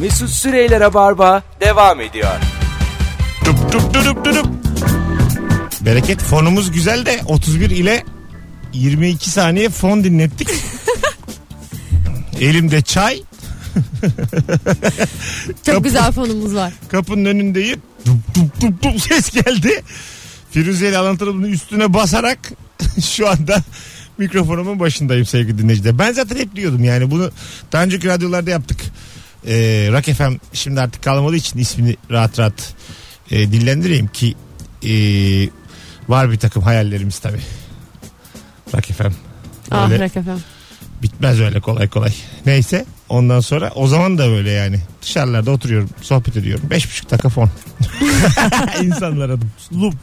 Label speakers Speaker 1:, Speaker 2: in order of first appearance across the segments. Speaker 1: Mesut Süreyler'e barba devam ediyor.
Speaker 2: Dup dup dup dup dup. Bereket fonumuz güzel de 31 ile 22 saniye fon dinlettik. Elimde çay,
Speaker 3: Çok güzel fonumuz var.
Speaker 2: kapının önündeyim. Dup dup dup dup ses geldi. Firuze ile alan tarafının üstüne basarak şu anda mikrofonumun başındayım sevgili dinleyiciler. Ben zaten hep diyordum yani bunu daha önceki radyolarda yaptık. Ee, Rock FM şimdi artık kalmadığı için ismini rahat rahat e, dillendireyim ki e, var bir takım hayallerimiz tabii. Rock FM.
Speaker 3: Ah
Speaker 2: Öyle.
Speaker 3: Rock FM.
Speaker 2: Bitmez öyle kolay kolay. Neyse ondan sonra o zaman da böyle yani. Dışarılarda oturuyorum sohbet ediyorum. Beş buçuk dakika fon. İnsanlar adım. Lup.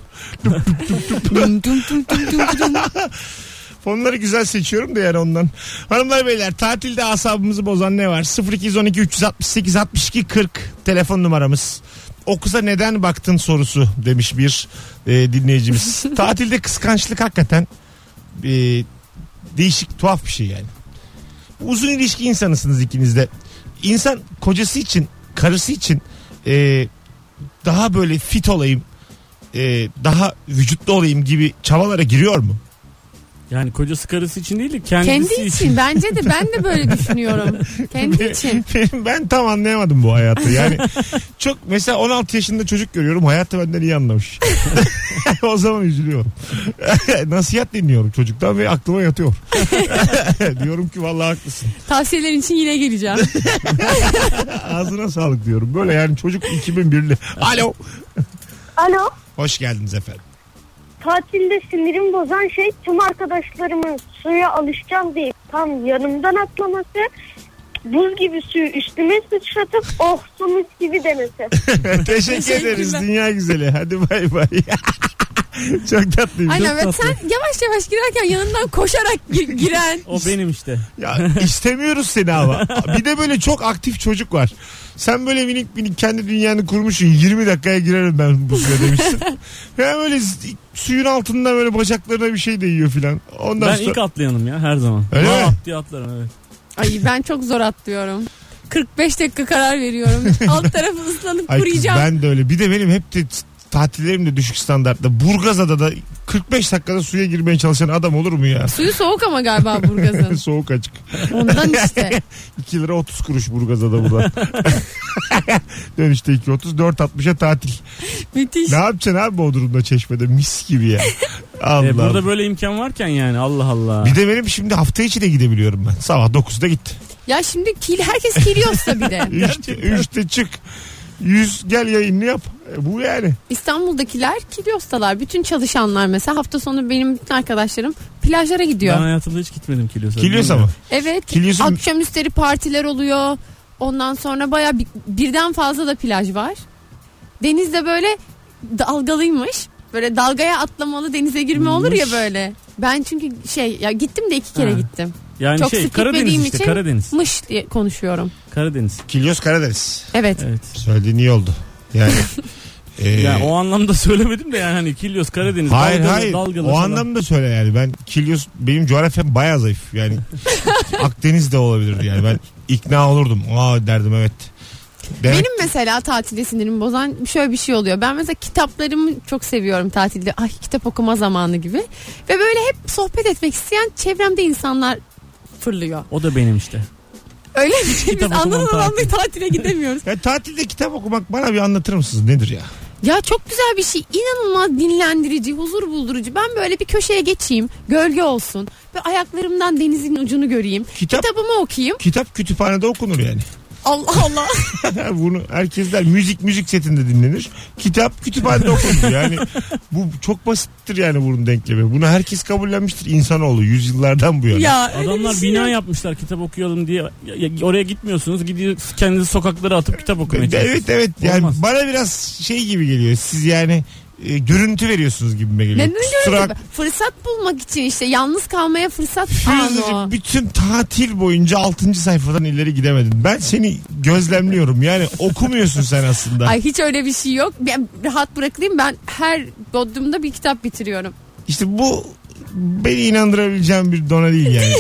Speaker 3: Dum dum dum dum dum dum.
Speaker 2: Fonları güzel seçiyorum da yani ondan. Hanımlar beyler tatilde asabımızı bozan ne var? 0212 368 62 40 telefon numaramız. O kıza neden baktın sorusu demiş bir e, dinleyicimiz. tatilde kıskançlık hakikaten e, değişik tuhaf bir şey yani. Uzun ilişki insanısınız ikiniz de. İnsan kocası için, karısı için e, daha böyle fit olayım, e, daha vücutlu olayım gibi çabalara giriyor mu?
Speaker 4: Yani kocası karısı için değil de kendisi
Speaker 3: Kendi için bence de ben de böyle düşünüyorum. Kendi için.
Speaker 2: Benim- ben tam anlayamadım bu hayatı. Yani çok mesela 16 yaşında çocuk görüyorum hayatı benden iyi anlamış. o zaman üzülüyorum. Nasihat dinliyorum çocuktan ve aklıma yatıyor. diyorum ki vallahi haklısın.
Speaker 3: Tavsiyeler için yine geleceğim.
Speaker 2: Ağzına sağlık diyorum. Böyle yani çocuk 2001'li. Alo.
Speaker 5: Alo.
Speaker 2: Hoş geldiniz efendim.
Speaker 5: Tatilde sinirimi bozan şey tüm arkadaşlarımın suya alışacağım deyip tam yanımdan atlaması. Buz gibi suyu üstüme sıçratıp oh su mis gibi demesi.
Speaker 2: Teşekkür ederiz.
Speaker 3: Teşekkürler.
Speaker 2: Dünya güzeli. Hadi bay bay. çok tatlıyım.
Speaker 3: Aynen
Speaker 4: Çok
Speaker 3: ve
Speaker 4: tatlı.
Speaker 3: sen yavaş yavaş girerken yanından koşarak gi- giren.
Speaker 4: O benim işte.
Speaker 2: Ya istemiyoruz seni ama. Bir de böyle çok aktif çocuk var. Sen böyle minik minik kendi dünyanı kurmuşsun. 20 dakikaya girerim ben bu suya demişsin. ya böyle s- suyun altında böyle bacaklarına bir şey değiyor filan. Ondan
Speaker 4: ben
Speaker 2: sonra...
Speaker 4: ilk atlayanım ya her zaman.
Speaker 2: Öyle mi?
Speaker 4: Lap diye atlarım evet. E,
Speaker 3: Ay ben çok zor atlıyorum. 45 dakika karar veriyorum. Alt tarafı ıslanıp
Speaker 2: Ay kız,
Speaker 3: kuruyacağım.
Speaker 2: ben de öyle. Bir de benim hep de t- tatillerim de düşük standartta. Burgazada da 45 dakikada suya girmeye çalışan adam olur mu ya?
Speaker 3: Suyu soğuk ama galiba Burgaz'ın.
Speaker 2: Soğuk açık.
Speaker 3: Ondan işte.
Speaker 2: 2 lira 30 kuruş Burgazada buradan. Dönüşte 2.30 4.60'a tatil.
Speaker 3: Müthiş.
Speaker 2: Ne yapacaksın abi Bodrum'da çeşmede mis gibi ya. Allah.
Speaker 4: E,
Speaker 2: Allah.
Speaker 4: burada böyle imkan varken yani Allah Allah.
Speaker 2: Bir de benim şimdi hafta içi de gidebiliyorum ben. Sabah 9'da git.
Speaker 3: Ya şimdi kil herkes kiliyorsa bir de.
Speaker 2: 3'te, çık. 100 gel yayını yap. E, Bu yani.
Speaker 3: İstanbul'dakiler kiliyostalar. Bütün çalışanlar mesela hafta sonu benim bütün arkadaşlarım plajlara gidiyor.
Speaker 4: Ben hayatımda hiç gitmedim Kilyos'a.
Speaker 2: Kiliyorsa mı?
Speaker 4: Bilmiyorum.
Speaker 3: Evet.
Speaker 2: Kilyos'un-
Speaker 3: Akşam üstleri partiler oluyor. Ondan sonra baya bir- birden fazla da plaj var. Deniz de böyle dalgalıymış. Böyle dalgaya atlamalı denize girme olur ya böyle. Ben çünkü şey ya gittim de iki kere
Speaker 4: Ha.
Speaker 3: gittim.
Speaker 4: Yani
Speaker 3: Çok
Speaker 4: şey
Speaker 3: sık
Speaker 4: Karadeniz
Speaker 3: gitmediğim
Speaker 4: işte
Speaker 3: için-
Speaker 4: Karadeniz.
Speaker 3: Mış diye konuşuyorum.
Speaker 4: Karadeniz.
Speaker 2: Kilyos Karadeniz.
Speaker 3: Evet.
Speaker 4: Evet.
Speaker 2: Söylediğin iyi oldu. Yani. e,
Speaker 4: Ya o anlamda söylemedim de yani hani Kilyos Karadeniz
Speaker 2: hayır
Speaker 4: dalgalı
Speaker 2: hayır.
Speaker 4: dalgalı
Speaker 2: o
Speaker 4: falan.
Speaker 2: anlamda söyle yani. Ben Kilyos benim coğrafyam bayağı zayıf. Yani Akdeniz de olabilir yani. Ben ikna olurdum. Aa derdim evet. Demek
Speaker 3: Benim mesela tatilde sinirimi bozan şöyle bir şey oluyor. Ben mesela kitaplarımı çok seviyorum tatilde. Ay kitap okuma zamanı gibi. Ve böyle hep sohbet etmek isteyen çevremde insanlar fırlıyor.
Speaker 4: O da benim işte.
Speaker 3: Öyle mi? Biz
Speaker 4: kitap okumam
Speaker 3: anlamadan
Speaker 4: tatil.
Speaker 3: tatile gidemiyoruz.
Speaker 2: Ya tatilde kitap okumak bana bir anlatır mısınız? Nedir ya?
Speaker 3: ya çok güzel bir şey. İnanılmaz dinlendirici, huzur buldurucu. Ben böyle bir köşeye geçeyim. Gölge olsun. Ve ayaklarımdan denizin ucunu göreyim.
Speaker 2: Kitap
Speaker 3: Kitabımı okuyayım.
Speaker 2: kitap kütüphanede okunur yani.
Speaker 3: Allah Allah.
Speaker 2: Bunu herkes der müzik müzik setinde dinlenir. Kitap kütüphanede okunur. Yani bu çok basittir yani bunun denklemi. Bunu herkes kabullenmiştir insanoğlu yüzyıllardan bu yana.
Speaker 3: ya öyle
Speaker 4: Adamlar
Speaker 3: bir şey
Speaker 4: bina
Speaker 3: yok.
Speaker 4: yapmışlar kitap okuyalım diye. Ya- ya- oraya gitmiyorsunuz. Gidiyorsunuz kendinizi sokaklara atıp kitap okumaya çalışıyorsunuz.
Speaker 2: Evet evet yani
Speaker 4: Olmaz.
Speaker 2: bana biraz şey gibi geliyor. Siz yani e, görüntü veriyorsunuz gibime geliyor.
Speaker 3: Neden
Speaker 2: Kusura-
Speaker 3: görüyorsun? Fırsat bulmak için işte yalnız kalmaya fırsat anı o.
Speaker 2: Firuzeciğim bütün tatil boyunca 6. sayfadan ileri gidemedin. Ben seni gözlemliyorum. Yani okumuyorsun sen aslında.
Speaker 3: Ay hiç öyle bir şey yok. Ben rahat bırakılayım ben her bodrumda bir kitap bitiriyorum.
Speaker 2: İşte bu beni inandırabileceğim bir dona değil yani.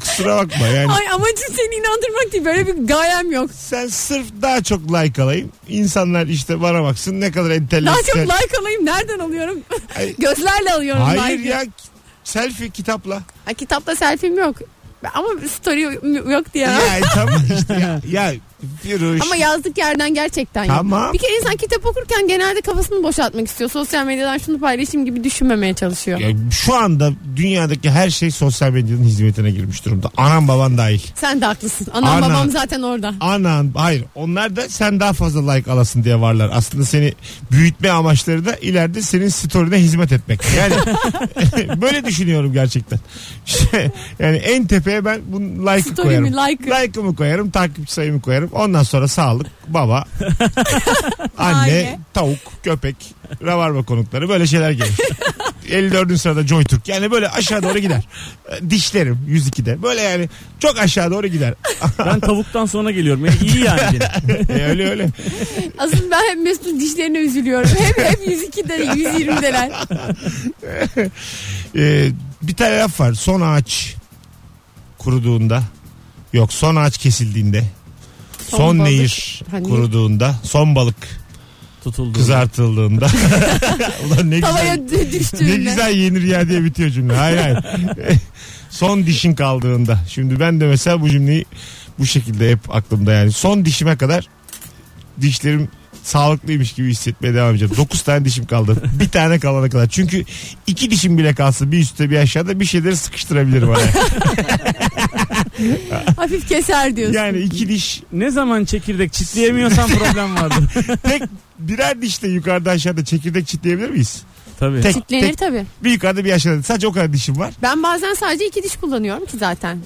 Speaker 2: Kusura bakma yani.
Speaker 3: Ay amacım seni inandırmak değil. Böyle bir gayem yok.
Speaker 2: Sen sırf daha çok like alayım. İnsanlar işte bana baksın ne kadar
Speaker 3: Daha çok
Speaker 2: entelektüel.
Speaker 3: like alayım. Nereden alıyorum?
Speaker 2: Ay-
Speaker 3: Gözlerle alıyorum
Speaker 2: Hayır
Speaker 3: like'ı.
Speaker 2: ya selfie kitapla.
Speaker 3: Ha, kitapta selfie'm yok. Ama story yok diye.
Speaker 2: Ya, e, tamam işte ya. ya Firuş.
Speaker 3: Ama yazdık yerden gerçekten yok.
Speaker 2: Tamam.
Speaker 3: Bir kere insan kitap okurken genelde kafasını boşaltmak istiyor. Sosyal medyadan şunu paylaşayım gibi düşünmemeye çalışıyor.
Speaker 2: Ya şu anda dünyadaki her şey sosyal medyanın hizmetine girmiş durumda. Anam baban dahil.
Speaker 3: Sen de haklısın. Anam
Speaker 2: Ana.
Speaker 3: babam zaten orada.
Speaker 2: Anan hayır onlar da sen daha fazla like alasın diye varlar. Aslında seni büyütme amaçları da ileride senin story'ne hizmet etmek. Yani böyle düşünüyorum gerçekten. Şey, yani en tepeye ben bunu like
Speaker 3: Story'mi,
Speaker 2: koyarım.
Speaker 3: like'ı.
Speaker 2: Like'ımı koyarım, takipçi sayımı koyarım. Ondan sonra sağlık, baba, anne,
Speaker 3: Aile.
Speaker 2: tavuk, köpek, ravarba konukları böyle şeyler gelir. 54. sırada Joytürk. Yani böyle aşağı doğru gider. Dişlerim 102'de. Böyle yani çok aşağı doğru gider.
Speaker 4: Ben tavuktan sonra geliyorum. Yani iyi yani yine.
Speaker 2: E, öyle öyle.
Speaker 3: Aslında ben hem Mesut'un dişlerine üzülüyorum. Hem hep 102'de 120'deler.
Speaker 2: Ee, bir tane laf var. Son ağaç kuruduğunda yok son ağaç kesildiğinde son,
Speaker 3: Son balık.
Speaker 2: nehir
Speaker 3: Hani-
Speaker 2: kuruduğunda son balık
Speaker 4: Tutuldu.
Speaker 2: kızartıldığında ulan ne
Speaker 3: Tavaya
Speaker 2: güzel
Speaker 3: dü-
Speaker 2: ne
Speaker 3: düştüğünde.
Speaker 2: güzel yenir ya diye bitiyor cümle. Hayır hayır. son dişin kaldığında. Şimdi ben de mesela bu cümleyi bu şekilde hep aklımda yani. Son dişime kadar dişlerim sağlıklıymış gibi hissetmeye devam edeceğim. 9 tane dişim kaldı. Bir tane kalana kadar. Çünkü iki dişim bile kalsa bir üstte bir aşağıda bir şeyleri sıkıştırabilirim oraya.
Speaker 3: Hafif keser diyorsun.
Speaker 2: Yani iki diş
Speaker 4: Ne zaman çekirdek çitleyemiyorsan problem vardı.
Speaker 2: tek birer dişle yukarıda aşağıda çekirdek çitleyebilir miyiz?
Speaker 4: Tabii.
Speaker 2: Tek,
Speaker 3: Kitlenir
Speaker 2: tek
Speaker 3: tabii.
Speaker 2: bir yukarıda bir aşağıda. Sadece o kadar dişim var.
Speaker 3: Ben bazen sadece iki diş kullanıyorum ki zaten.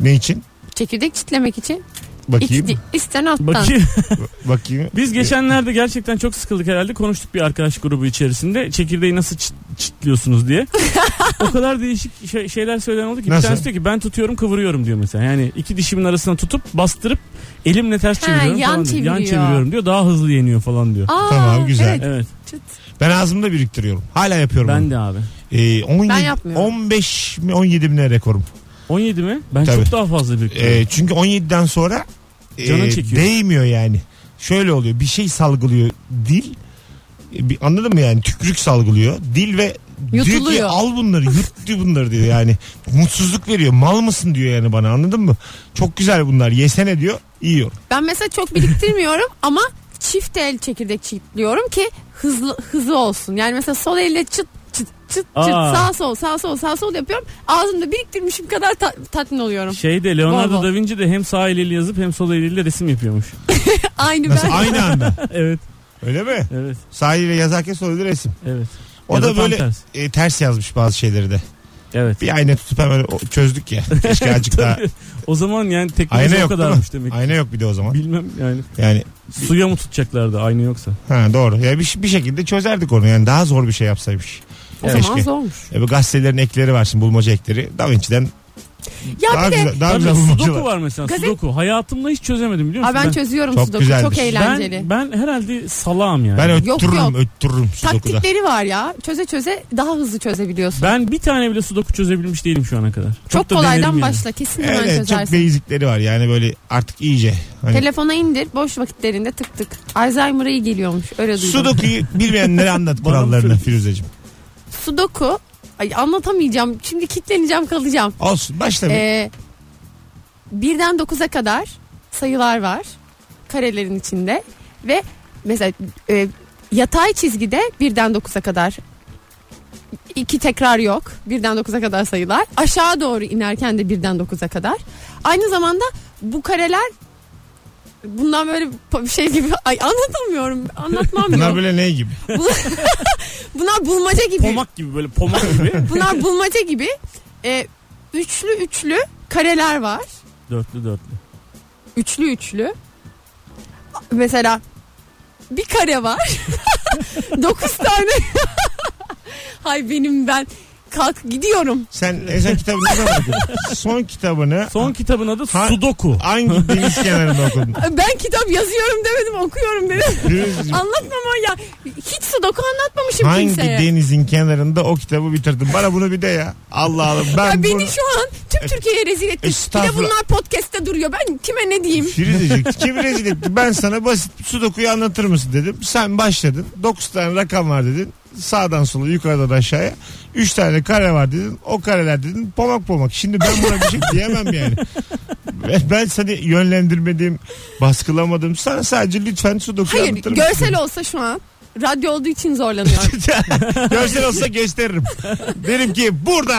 Speaker 2: Ne için?
Speaker 3: Çekirdek çitlemek için.
Speaker 2: Bakayım.
Speaker 3: İki di- isten alttan.
Speaker 4: Bakayım.
Speaker 2: Bakayım.
Speaker 4: Biz geçenlerde gerçekten çok sıkıldık herhalde. Konuştuk bir arkadaş grubu içerisinde. Çekirdeği nasıl çit- çitliyorsunuz diye. o kadar değişik şey- şeyler söylenen oldu ki.
Speaker 2: Nasıl?
Speaker 4: Bir tanesi diyor ki ben tutuyorum kıvırıyorum diyor mesela. Yani iki dişimin arasına tutup bastırıp elimle ters
Speaker 3: Ha,
Speaker 4: çeviriyorum
Speaker 3: yan
Speaker 4: falan diyor. Yan
Speaker 3: çeviriyor.
Speaker 4: çeviriyorum diyor. Daha hızlı yeniyor falan diyor.
Speaker 3: Aa,
Speaker 2: Tamam, güzel.
Speaker 3: evet.
Speaker 4: Evet
Speaker 3: Çıt.
Speaker 2: Ben ağzımda biriktiriyorum. Hala yapıyorum.
Speaker 4: ben de abi.
Speaker 2: Ee, 17,
Speaker 3: Ben yapmıyorum.
Speaker 2: 15 mi 17 mi ne rekorum.
Speaker 4: 17 mi? Ben
Speaker 2: Tabii.
Speaker 4: çok daha fazla biriktiriyorum.
Speaker 2: Ee, çünkü 17'den sonra e,
Speaker 4: Canın çekiyor.
Speaker 2: değmiyor yani. Şöyle oluyor bir şey salgılıyor dil. E, bir, anladın mı yani tükürük salgılıyor. Dil ve diyor ki
Speaker 3: Yutuluyor.
Speaker 2: al bunları yut diyor bunları diyor yani. Mutsuzluk veriyor mal mısın diyor yani bana anladın mı? Çok güzel bunlar yesene diyor yiyor.
Speaker 3: Ben mesela çok biriktirmiyorum ama çift el çekirdek çitliyorum ki hızlı hızı olsun. Yani mesela sol elle çıt çıt çıt çıt
Speaker 4: Aa.
Speaker 3: sağ sol sağ sol sağ sol yapıyorum. Ağzımda biriktirmişim kadar ta- tatmin oluyorum.
Speaker 4: Şeyde Leonardo
Speaker 3: Bravo.
Speaker 4: da Vinci de hem sağ eliyle yazıp hem sol eliyle resim yapıyormuş.
Speaker 3: Aynı
Speaker 2: Nasıl
Speaker 3: ben.
Speaker 2: aynı anda
Speaker 4: evet,
Speaker 2: öyle mi?
Speaker 4: evet,
Speaker 2: Sahiliyle yazarken sonra resim.
Speaker 4: evet.
Speaker 2: O
Speaker 4: Ya
Speaker 2: da,
Speaker 4: da tam
Speaker 2: böyle
Speaker 4: ters.
Speaker 2: e, ters yazmış bazı şeyleri de.
Speaker 4: Evet.
Speaker 2: Bir ayna tutup hemen o- çözdük ya. Keşke azıcık daha.
Speaker 4: Tabii. O zaman yani
Speaker 2: Ayna
Speaker 4: teknoloji o
Speaker 2: yok değil mi?
Speaker 4: kadarmış demek. ki.
Speaker 2: Ayna yok bir de o zaman.
Speaker 4: Bilmem yani
Speaker 2: Yani
Speaker 4: suya mı tutacaklardı ayna yoksa.
Speaker 2: ha, doğru. Ya bir, bir şekilde çözerdik onu. Yani daha zor bir şey yapsaymış.
Speaker 3: O
Speaker 2: Keşke.
Speaker 3: zaman zormuş.
Speaker 2: E bu gazetelerin ekleri var şimdi bulmaca ekleri. Da Vinci'den
Speaker 3: Ya
Speaker 2: daha
Speaker 3: bir de
Speaker 2: güzel, daha
Speaker 4: Tabii
Speaker 2: güzel bulmaca
Speaker 4: sudoku
Speaker 2: var.
Speaker 4: var mesela
Speaker 3: Gazet-
Speaker 4: sudoku. Hayatımda hiç çözemedim biliyor
Speaker 3: Aa,
Speaker 4: musun?
Speaker 3: ben, çözüyorum
Speaker 2: Çok
Speaker 3: çok
Speaker 2: güzeldir.
Speaker 3: Çok eğlenceli.
Speaker 4: ben, ben herhalde salağım yani.
Speaker 2: Ben
Speaker 4: Ben,
Speaker 3: Yok,
Speaker 2: öttürürüm
Speaker 3: yok.
Speaker 2: öttürürüm sudoku'da.
Speaker 3: Taktikleri var ya. Çöze çöze daha hızlı çözebiliyorsun.
Speaker 4: bir tane bile sudoku çözebilmiş değilim şu ana kadar.
Speaker 3: çok
Speaker 4: da denerim
Speaker 3: kolaydan
Speaker 4: yani.
Speaker 3: başla. Kesin hemen
Speaker 2: Evet çok
Speaker 3: çözersin.
Speaker 2: basicleri var yani böyle artık iyice. Hani
Speaker 3: Telefona indir boş vakitlerinde tık tık. Alzheimer'a iyi geliyormuş. Öyle duydum.
Speaker 2: sudoku'yu bilmeyenlere anlat kurallarını
Speaker 4: söyle.
Speaker 2: Firuzeciğim.
Speaker 3: Sudoku. Ay anlatamayacağım. Şimdi kitleneceğim kalacağım.
Speaker 2: Olsun başla bir.
Speaker 3: Ee, birden 9'a kadar sayılar var. Karelerin içinde. Ve mesela e, yatay çizgide birden 9'a kadar iki tekrar yok. Birden 9'a kadar sayılar. Aşağı doğru inerken de birden 9'a kadar. Aynı zamanda bu kareler bundan böyle bir şey gibi ay anlatamıyorum. Anlatmam
Speaker 2: Bunlar
Speaker 3: yok.
Speaker 2: böyle ne gibi?
Speaker 3: Bunlar bulmaca gibi.
Speaker 4: Pomak gibi böyle pomak gibi.
Speaker 3: Bunlar bulmaca gibi. Ee, üçlü üçlü kareler var.
Speaker 4: dörtlü dörtlü.
Speaker 3: Üçlü üçlü. Mesela bir kare var. Dokuz tane. Hay benim ben Kalk gidiyorum.
Speaker 2: Sen, e, sen kitabı ne zaman okudun? Son kitabını
Speaker 4: Son kitabın adı
Speaker 2: Ha-
Speaker 4: Sudoku.
Speaker 2: hangi deniz kenarında okudun?
Speaker 3: Ben kitap yazıyorum demedim okuyorum dedim.
Speaker 2: Deniz-
Speaker 3: Anlatmama ya. Hiç sudoku anlatmamışım
Speaker 2: hangi
Speaker 3: kimseye.
Speaker 2: denizin kenarında o kitabı bitirdin? Bana bunu bir de ya. Allah Allah. Ben
Speaker 3: Ya beni
Speaker 2: bunu...
Speaker 3: şu an tüm Türkiye'ye rezil ettin. Bir de
Speaker 2: Estağfurullah.
Speaker 3: bunlar podcast'te duruyor. Ben kime ne diyeyim?
Speaker 2: Firuzecik kim rezil etti? Ben sana basit sudokuyu anlatır mısın dedim. Sen başladın. 9 tane rakam var dedin. Sağdan sola yukarıdan aşağıya. 3 tane kare var dedin. O kareler dedin pomak pomak. Şimdi ben buna bir şey diyemem yani. Ben- Ben seni yönlendirmedim, baskılamadım. Sana sadece lütfen sudokuyu
Speaker 3: Hayır
Speaker 2: anlatır mısın?
Speaker 3: görsel olsa şu an. Radyo olduğu için zorlanıyorum.
Speaker 2: görsel olsa gösteririm. Derim ki burada.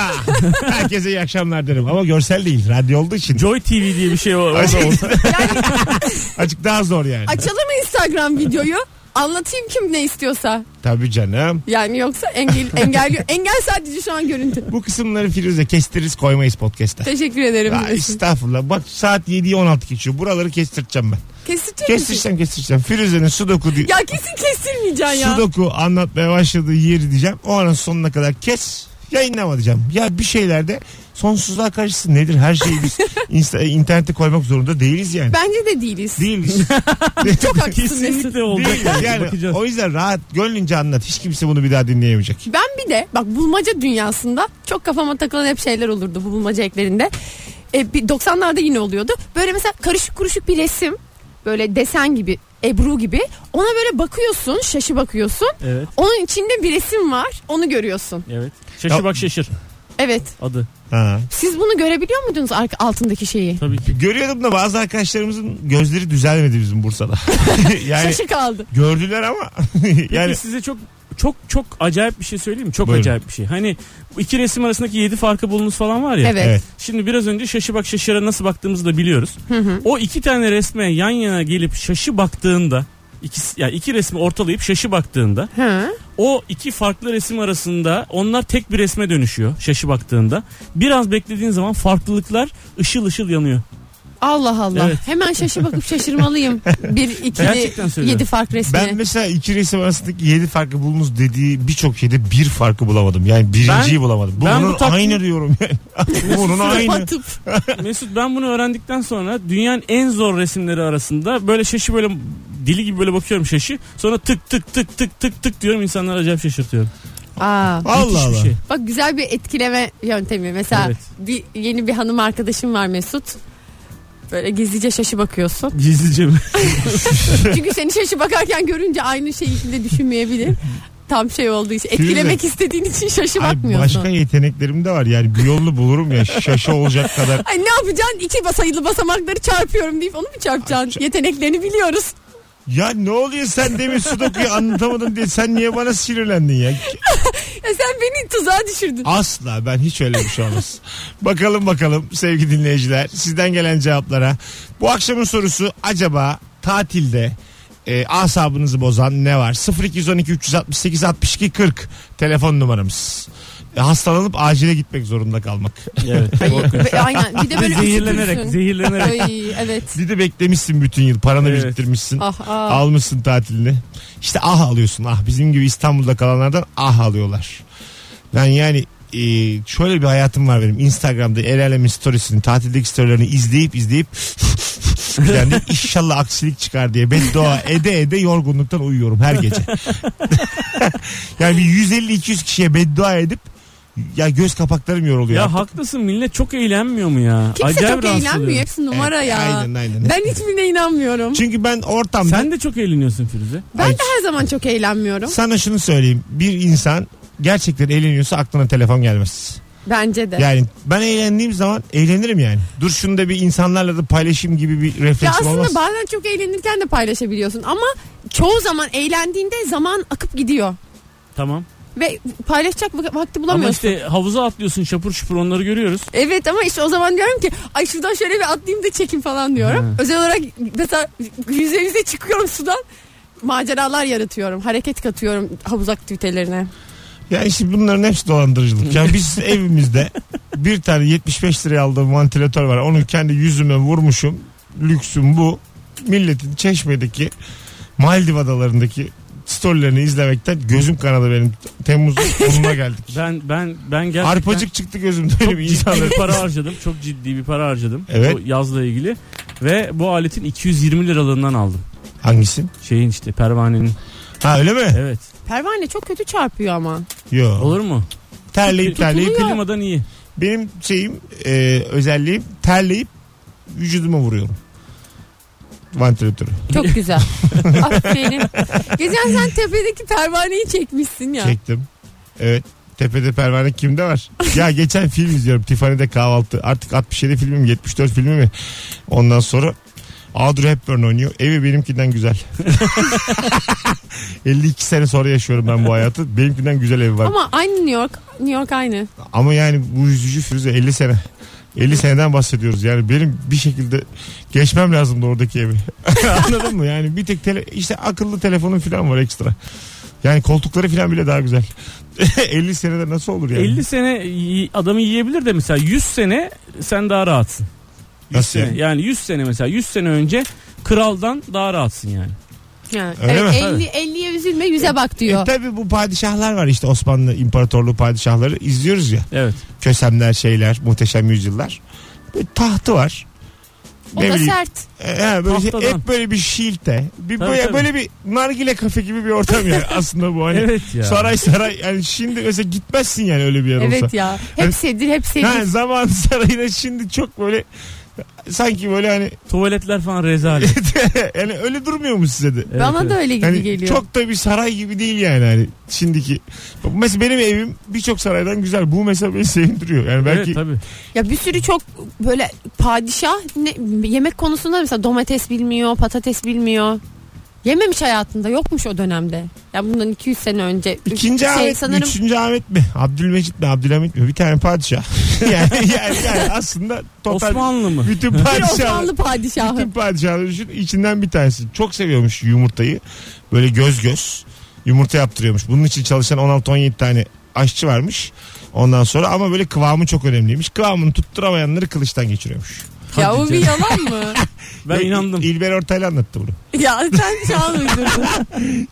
Speaker 2: Herkese iyi akşamlar derim. Ama görsel değil. Radyo olduğu için.
Speaker 4: Joy TV diye bir şey var. orada
Speaker 2: Azıcık-
Speaker 4: olsa.
Speaker 2: Azıcık daha zor yani.
Speaker 3: Açalım mı Instagram videoyu? Anlatayım kim ne istiyorsa.
Speaker 2: Tabii canım.
Speaker 3: Yani yoksa engel engel engel sadece şu an görüntü.
Speaker 2: Bu kısımları Firuze kestiririz koymayız podcast'a.
Speaker 3: Teşekkür ederim.
Speaker 2: Ya estağfurullah. Bak saat 7'yi 16 geçiyor. Buraları kestireceğim ben.
Speaker 3: Kesilecek misin?
Speaker 2: Kestireceğim kestireceğim. Firuze'nin sudoku, di-
Speaker 3: Ya kesin kestirmeyeceksin ya.
Speaker 2: sudoku anlatmaya başladığı yeri diyeceğim. O anın sonuna kadar kes. Yayınlama diyeceğim. Ya bir şeylerde sonsuzluğa karşısı nedir? Her şeyi biz insta- internete koymak zorunda değiliz yani.
Speaker 3: Bence de değiliz.
Speaker 2: Değiliz.
Speaker 3: Çok haklısın Mesut.
Speaker 4: Kesinlikle olacak.
Speaker 2: Değiliz yani.
Speaker 4: Bakacağız.
Speaker 2: O yüzden rahat gönlünce anlat. Hiç kimse bunu bir daha dinleyemeyecek.
Speaker 3: Ben bir de bak bulmaca dünyasında çok kafama takılan hep şeyler olurdu bu bulmaca eklerinde. E, bir 90'larda yine oluyordu. Böyle mesela karışık kuruşuk bir resim böyle desen gibi Ebru gibi ona böyle bakıyorsun şaşı bakıyorsun
Speaker 4: Evet.
Speaker 3: onun içinde bir resim var onu görüyorsun
Speaker 4: Evet. Şaşır
Speaker 2: Ya-
Speaker 4: bak şaşır
Speaker 3: evet
Speaker 4: adı.
Speaker 2: Ha.
Speaker 3: siz bunu görebiliyor muydunuz arka- altındaki şeyi
Speaker 4: Tabii ki.
Speaker 2: Görüyordum da bazı arkadaşlarımızın gözleri düzelmedi bizim Bursa'da. yani
Speaker 3: şaşı kaldı
Speaker 2: gördüler ama
Speaker 4: Peki
Speaker 2: yani
Speaker 4: size çok çok çok acayip bir şey söyleyeyim mi? Çok
Speaker 2: Buyurun.
Speaker 4: acayip bir şey. Hani bu iki resim arasındaki yedi farkı bulunuz falan var ya.
Speaker 3: evet,
Speaker 2: evet.
Speaker 4: Şimdi biraz önce şaşı bak şaşıra nasıl baktığımızı da biliyoruz. O iki tane resme yan yana gelip şaşı baktığında ikisi, yani iki resmi ortalayıp şaşı baktığında
Speaker 3: Hı.
Speaker 4: o iki farklı resim arasında onlar tek bir resme dönüşüyor şaşı baktığında. Biraz beklediğin zaman farklılıklar ışıl ışıl yanıyor.
Speaker 3: Allah Allah
Speaker 4: Evet.
Speaker 3: hemen şaşı bakıp şaşırmalıyım bir ikili
Speaker 4: Gerçekten söylüyorum.
Speaker 3: yedi fark resmine
Speaker 4: Ee,
Speaker 2: Ben mesela iki resim arasındaki yedi farkı bulunuz dediği birçok şeyde bir farkı bulamadım. Yani birinciyi
Speaker 4: Ben-
Speaker 2: bulamadım. Bu
Speaker 4: ben bu
Speaker 2: bunun
Speaker 4: taktiği- şey
Speaker 2: aynı diyorum yani. bunun aynı.
Speaker 3: Kapatıp.
Speaker 4: Mesut ben bunu öğrendikten sonra dünyanın en zor resimleri arasında böyle şaşı böyle dili gibi böyle bakıyorum şaşı. Sonra tık tık tık tık tık tık diyorum insanlar acayip şaşırtıyorum.
Speaker 3: Aa,
Speaker 2: Allah
Speaker 4: Müthiş bir
Speaker 2: Allah.
Speaker 4: şey.
Speaker 3: Bak güzel bir etkileme yöntemi. Mesela
Speaker 4: Evet.
Speaker 3: bir yeni bir hanım arkadaşım var Mesut. Böyle gizlice şaşı bakıyorsun.
Speaker 4: Gizlice mi?
Speaker 3: Çünkü seni şaşı bakarken görünce aynı şeyi içinde düşünmeyebilir. Tam şey olduğu için. Etkilemek istediğin için şaşı
Speaker 2: Ay,
Speaker 3: bakmıyorsun.
Speaker 2: başka yeteneklerim de var. Yani bir yolunu bulurum ya şaşı olacak kadar.
Speaker 3: Ay ne yapacaksın? İki bas- sayılı basamakları çarpıyorum deyip onu mu çarpacaksın? Yeteneklerini biliyoruz.
Speaker 2: Ya ne oluyor sen demin sudokuyu anlatamadın diye sen niye bana sinirlendin ya?
Speaker 3: Ya E, sen beni tuzağa düşürdün.
Speaker 2: Asla ben hiç öyle bir şey olmaz. bakalım bakalım sevgili dinleyiciler sizden gelen cevaplara. Bu akşamın sorusu acaba tatilde e, asabınızı bozan ne var? 0212 368 62 40 telefon numaramız. E, hastalanıp acile gitmek zorunda kalmak.
Speaker 4: Evet.
Speaker 3: Ve Aynen. Bir de böyle
Speaker 4: zehirlenerek
Speaker 3: üşütürsün.
Speaker 4: zehirlenerek.
Speaker 3: Ay evet.
Speaker 2: Bir de beklemişsin bütün yıl paranı
Speaker 4: Evet.
Speaker 2: biriktirmişsin.
Speaker 3: Ah, ah.
Speaker 2: Almışsın tatilini. İşte ah alıyorsun ah. Bizim gibi İstanbul'da kalanlardan ah alıyorlar. Ben yani e, şöyle bir hayatım var benim. Instagram'da el alemin storiesini, tatildeki storylerini izleyip izleyip yani inşallah aksilik çıkar diye beddua ede ede yorgunluktan uyuyorum her gece. yani bir 150-200 kişiye beddua edip ya göz kapaklarım yoruluyor.
Speaker 4: Ya haklısın millet çok eğlenmiyor mu ya?
Speaker 3: Kimse
Speaker 4: Acayip
Speaker 3: çok
Speaker 4: rahatsız
Speaker 3: eğlenmiyor.
Speaker 4: oluyorum.
Speaker 3: Hepsi numara
Speaker 2: Evet,
Speaker 3: ya.
Speaker 2: aynen, aynen.
Speaker 3: Ben hiçbirine inanmıyorum.
Speaker 2: Çünkü ben ortamda
Speaker 4: Sen de çok eğleniyorsun Firuze.
Speaker 3: Ben
Speaker 2: Ay,
Speaker 3: de her zaman çok eğlenmiyorum.
Speaker 2: Sana şunu söyleyeyim. Bir insan gerçekten eğleniyorsa aklına telefon gelmez.
Speaker 3: Bence de.
Speaker 2: Yani ben eğlendiğim zaman eğlenirim yani. Dur şunu da bir insanlarla da paylaşayım gibi bir
Speaker 3: ya
Speaker 2: refleksim
Speaker 3: aslında
Speaker 2: olmaz.
Speaker 3: bazen çok eğlenirken de paylaşabiliyorsun ama çoğu zaman eğlendiğinde zaman akıp gidiyor
Speaker 4: Tamam.
Speaker 3: ve paylaşacak vak- vakti
Speaker 4: Ama
Speaker 3: bulamıyorsun.
Speaker 4: işte havuza atlıyorsun şapur şupur onları görüyoruz.
Speaker 3: Evet ama işte o zaman diyorum ki ay şuradan şöyle bir atlayayım da çekim falan diyorum. Özel olarak mesela yüze yüze çıkıyorum sudan maceralar yaratıyorum. Hareket katıyorum havuz aktivitelerine.
Speaker 2: Yani işte bunların hepsi dolandırıcılık. Yani biz evimizde bir tane 75 liraya aldığım vantilatör var. Onu kendi yüzüme vurmuşum. Lüksüm bu. Milletin çeşmedeki Maldiv adalarındaki storylerini izlemekten gözüm kanadı benim. Temmuz'un sonuna geldik.
Speaker 4: Ben ben ben gerçekten
Speaker 2: Arpacık çıktı gözümde
Speaker 4: çok
Speaker 2: öyle bir
Speaker 4: ciddi
Speaker 2: insanlar.
Speaker 4: bir para harcadım. Çok ciddi bir para harcadım.
Speaker 2: Evet.
Speaker 4: Bu yazla ilgili ve bu aletin 220 liralığından aldım.
Speaker 2: Hangisi?
Speaker 4: Şeyin işte pervanenin.
Speaker 2: Ha öyle mi?
Speaker 4: Evet.
Speaker 3: Pervane çok kötü çarpıyor ama.
Speaker 2: Yo.
Speaker 4: Olur mu?
Speaker 2: Terleyip terleyip.
Speaker 3: Tutuluyor.
Speaker 4: Klimadan iyi.
Speaker 2: Benim şeyim e, özelliğim terleyip vücuduma vuruyorum. Vantilatörü.
Speaker 3: Çok güzel. Aferin. Geçen sen tepedeki pervaneyi çekmişsin ya.
Speaker 2: Çektim. Evet. Tepede pervane kimde var? ya geçen film izliyorum. Tiffany'de kahvaltı. Artık 67 filmi mi 74 filmi mi? Ondan sonra Audrey Hepburn oynuyor. Evi benimkinden güzel. 52 sene sonra yaşıyorum ben bu hayatı. Benimkinden güzel evi var. Ama,
Speaker 3: Ama aynı New York. New York aynı.
Speaker 2: yani bu yüzücü Firuze 50 sene. 50 seneden bahsediyoruz. Yani benim bir şekilde geçmem lazımdı oradaki evi. Anladın mı? Yani bir tek tele, işte akıllı telefonun falan var ekstra. Yani koltukları falan bile daha güzel. 50 senede nasıl olur yani?
Speaker 4: 50 sene y- adamı yiyebilir de mesela 100 sene sen daha rahatsın. 100
Speaker 2: Nasıl
Speaker 4: sene.
Speaker 2: yani?
Speaker 4: Yani 100 sene mesela 100 sene önce kraldan daha rahatsın yani.
Speaker 3: Yani,
Speaker 2: Öyle
Speaker 3: evet,
Speaker 2: mi?
Speaker 3: 50, 50'ye üzülme 100'e bak
Speaker 2: E
Speaker 3: diyor.
Speaker 2: tabi bu padişahlar var işte Osmanlı İmparatorluğu padişahları izliyoruz ya.
Speaker 4: Evet.
Speaker 2: Kösemler şeyler muhteşem yüzyıllar. Böyle tahtı var.
Speaker 3: O
Speaker 2: Ne
Speaker 3: da
Speaker 2: bileyim,
Speaker 3: sert.
Speaker 2: e, he, böyle şey-
Speaker 4: Tahtadan.
Speaker 2: hep böyle bir şilte. Bir
Speaker 4: Tabii,
Speaker 2: böyle,
Speaker 4: tabii.
Speaker 2: böyle bir nargile kafe gibi bir ortam yani aslında bu hani.
Speaker 4: Evet ya.
Speaker 2: Saray saray yani şimdi mesela gitmezsin yani öyle bir yer olsa.
Speaker 3: Evet ya. Hep sedir hep
Speaker 2: Ha,
Speaker 3: sedir.
Speaker 2: zaman sarayına şimdi çok böyle sanki böyle hani
Speaker 4: Tuvaletler falan rezalet.
Speaker 2: yani öyle durmuyor mu size de?
Speaker 4: Evet,
Speaker 3: Bana
Speaker 4: evet.
Speaker 3: da öyle gibi
Speaker 2: Yani
Speaker 3: geliyor.
Speaker 2: çok da bir saray gibi değil yani hani şimdiki. Mesela benim evim birçok saraydan güzel. Bu mesela beni sevindiriyor. Yani belki
Speaker 4: Evet, tabii.
Speaker 3: Ya bir sürü çok böyle padişah ne- yemek konusunda mesela domates bilmiyor, patates bilmiyor. Yememiş hayatında yokmuş o dönemde. Ya bundan 200 sene önce.
Speaker 2: ikinci
Speaker 3: Şey,
Speaker 2: Ahmet mi,
Speaker 3: sanırım
Speaker 2: üçüncü Ahmet mi? Abdülmecit mi, Abdülhamit mi? Bir tane padişah. yani, yani, yani aslında total
Speaker 4: Osmanlı mı?
Speaker 2: bütün
Speaker 3: bir
Speaker 2: padişahlar.
Speaker 3: Osmanlı padişahı.
Speaker 2: Bütün padişahları düşün. İçinden bir tanesi. Çok seviyormuş yumurtayı. Böyle göz göz. Yumurta yaptırıyormuş. Bunun için çalışan 16-17 tane aşçı varmış. Ondan sonra ama böyle kıvamı çok önemliymiş. Kıvamını tutturamayanları kılıçtan geçiriyormuş.
Speaker 3: Ya
Speaker 4: Hadi
Speaker 3: bu bir yalan mı?
Speaker 4: Ben
Speaker 2: Ve
Speaker 4: inandım.
Speaker 2: İl- İlber Ortaylı anlattı bunu.
Speaker 3: ya sen şu an uydurdun.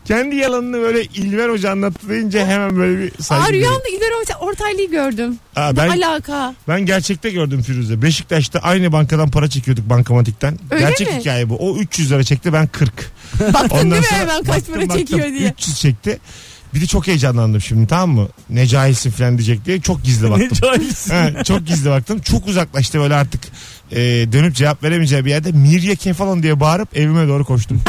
Speaker 2: Kendi yalanını böyle İlver Hoca anlattı deyince hemen böyle bir saygı
Speaker 3: Aa
Speaker 2: duyuyorum.
Speaker 3: rüyamda İlber Orta- Ortaylı'yı gördüm.
Speaker 2: Aa,
Speaker 3: Ne
Speaker 2: ben,
Speaker 3: alaka?
Speaker 2: ben gerçekte gördüm Firuze. Beşiktaş'ta aynı bankadan para çekiyorduk bankamatikten.
Speaker 3: Öyle
Speaker 2: Gerçek
Speaker 3: mi?
Speaker 2: hikaye bu. O 300 lira çekti ben 40.
Speaker 3: Baktın
Speaker 2: Ondan
Speaker 3: değil mi
Speaker 2: sonra
Speaker 3: hemen kaç
Speaker 2: baktım,
Speaker 3: para
Speaker 2: baktım,
Speaker 3: çekiyor diye.
Speaker 2: 300 çekti. Bir de çok heyecanlandım şimdi tamam mı? Ne cahilsin falan diyecek diye çok gizli
Speaker 4: Ne
Speaker 2: baktım.
Speaker 4: cahilsin.
Speaker 2: He, çok gizli baktım. Çok uzaklaştı böyle artık e, dönüp cevap veremeyeceği bir yerde Mirya Kefalon diye bağırıp evime doğru koştum.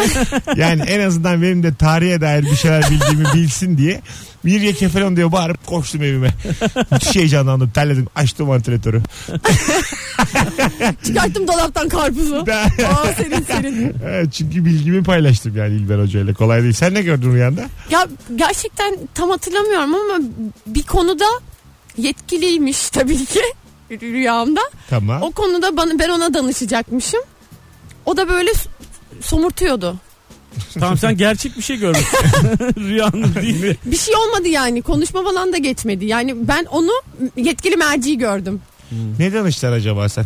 Speaker 2: yani en azından benim de tarihe dair bir şeyler bildiğimi bilsin diye Mirya Kefalon diye bağırıp koştum evime. Müthiş heyecanlandım. Terledim. Açtım ventilatörü.
Speaker 3: Çıkarttım dolaptan karpuzu. Aa serin serin.
Speaker 2: He, Çünkü bilgimi paylaştım yani İlber Hoca ile. Kolay değil. Sen ne gördün rüyanda?
Speaker 3: Ya gerçekten tam hatırlamıyorum ama bir konuda yetkiliymiş tabii ki rüyamda.
Speaker 2: Tamam.
Speaker 3: O konuda bana, ben ona danışacakmışım. O da böyle s- somurtuyordu.
Speaker 4: tamam sen gerçek bir şey görmüşsün. Rüyanın değil de.
Speaker 3: Bir şey olmadı yani konuşma falan da geçmedi. Yani ben onu yetkili merci gördüm.
Speaker 2: Ne danışlar acaba sen?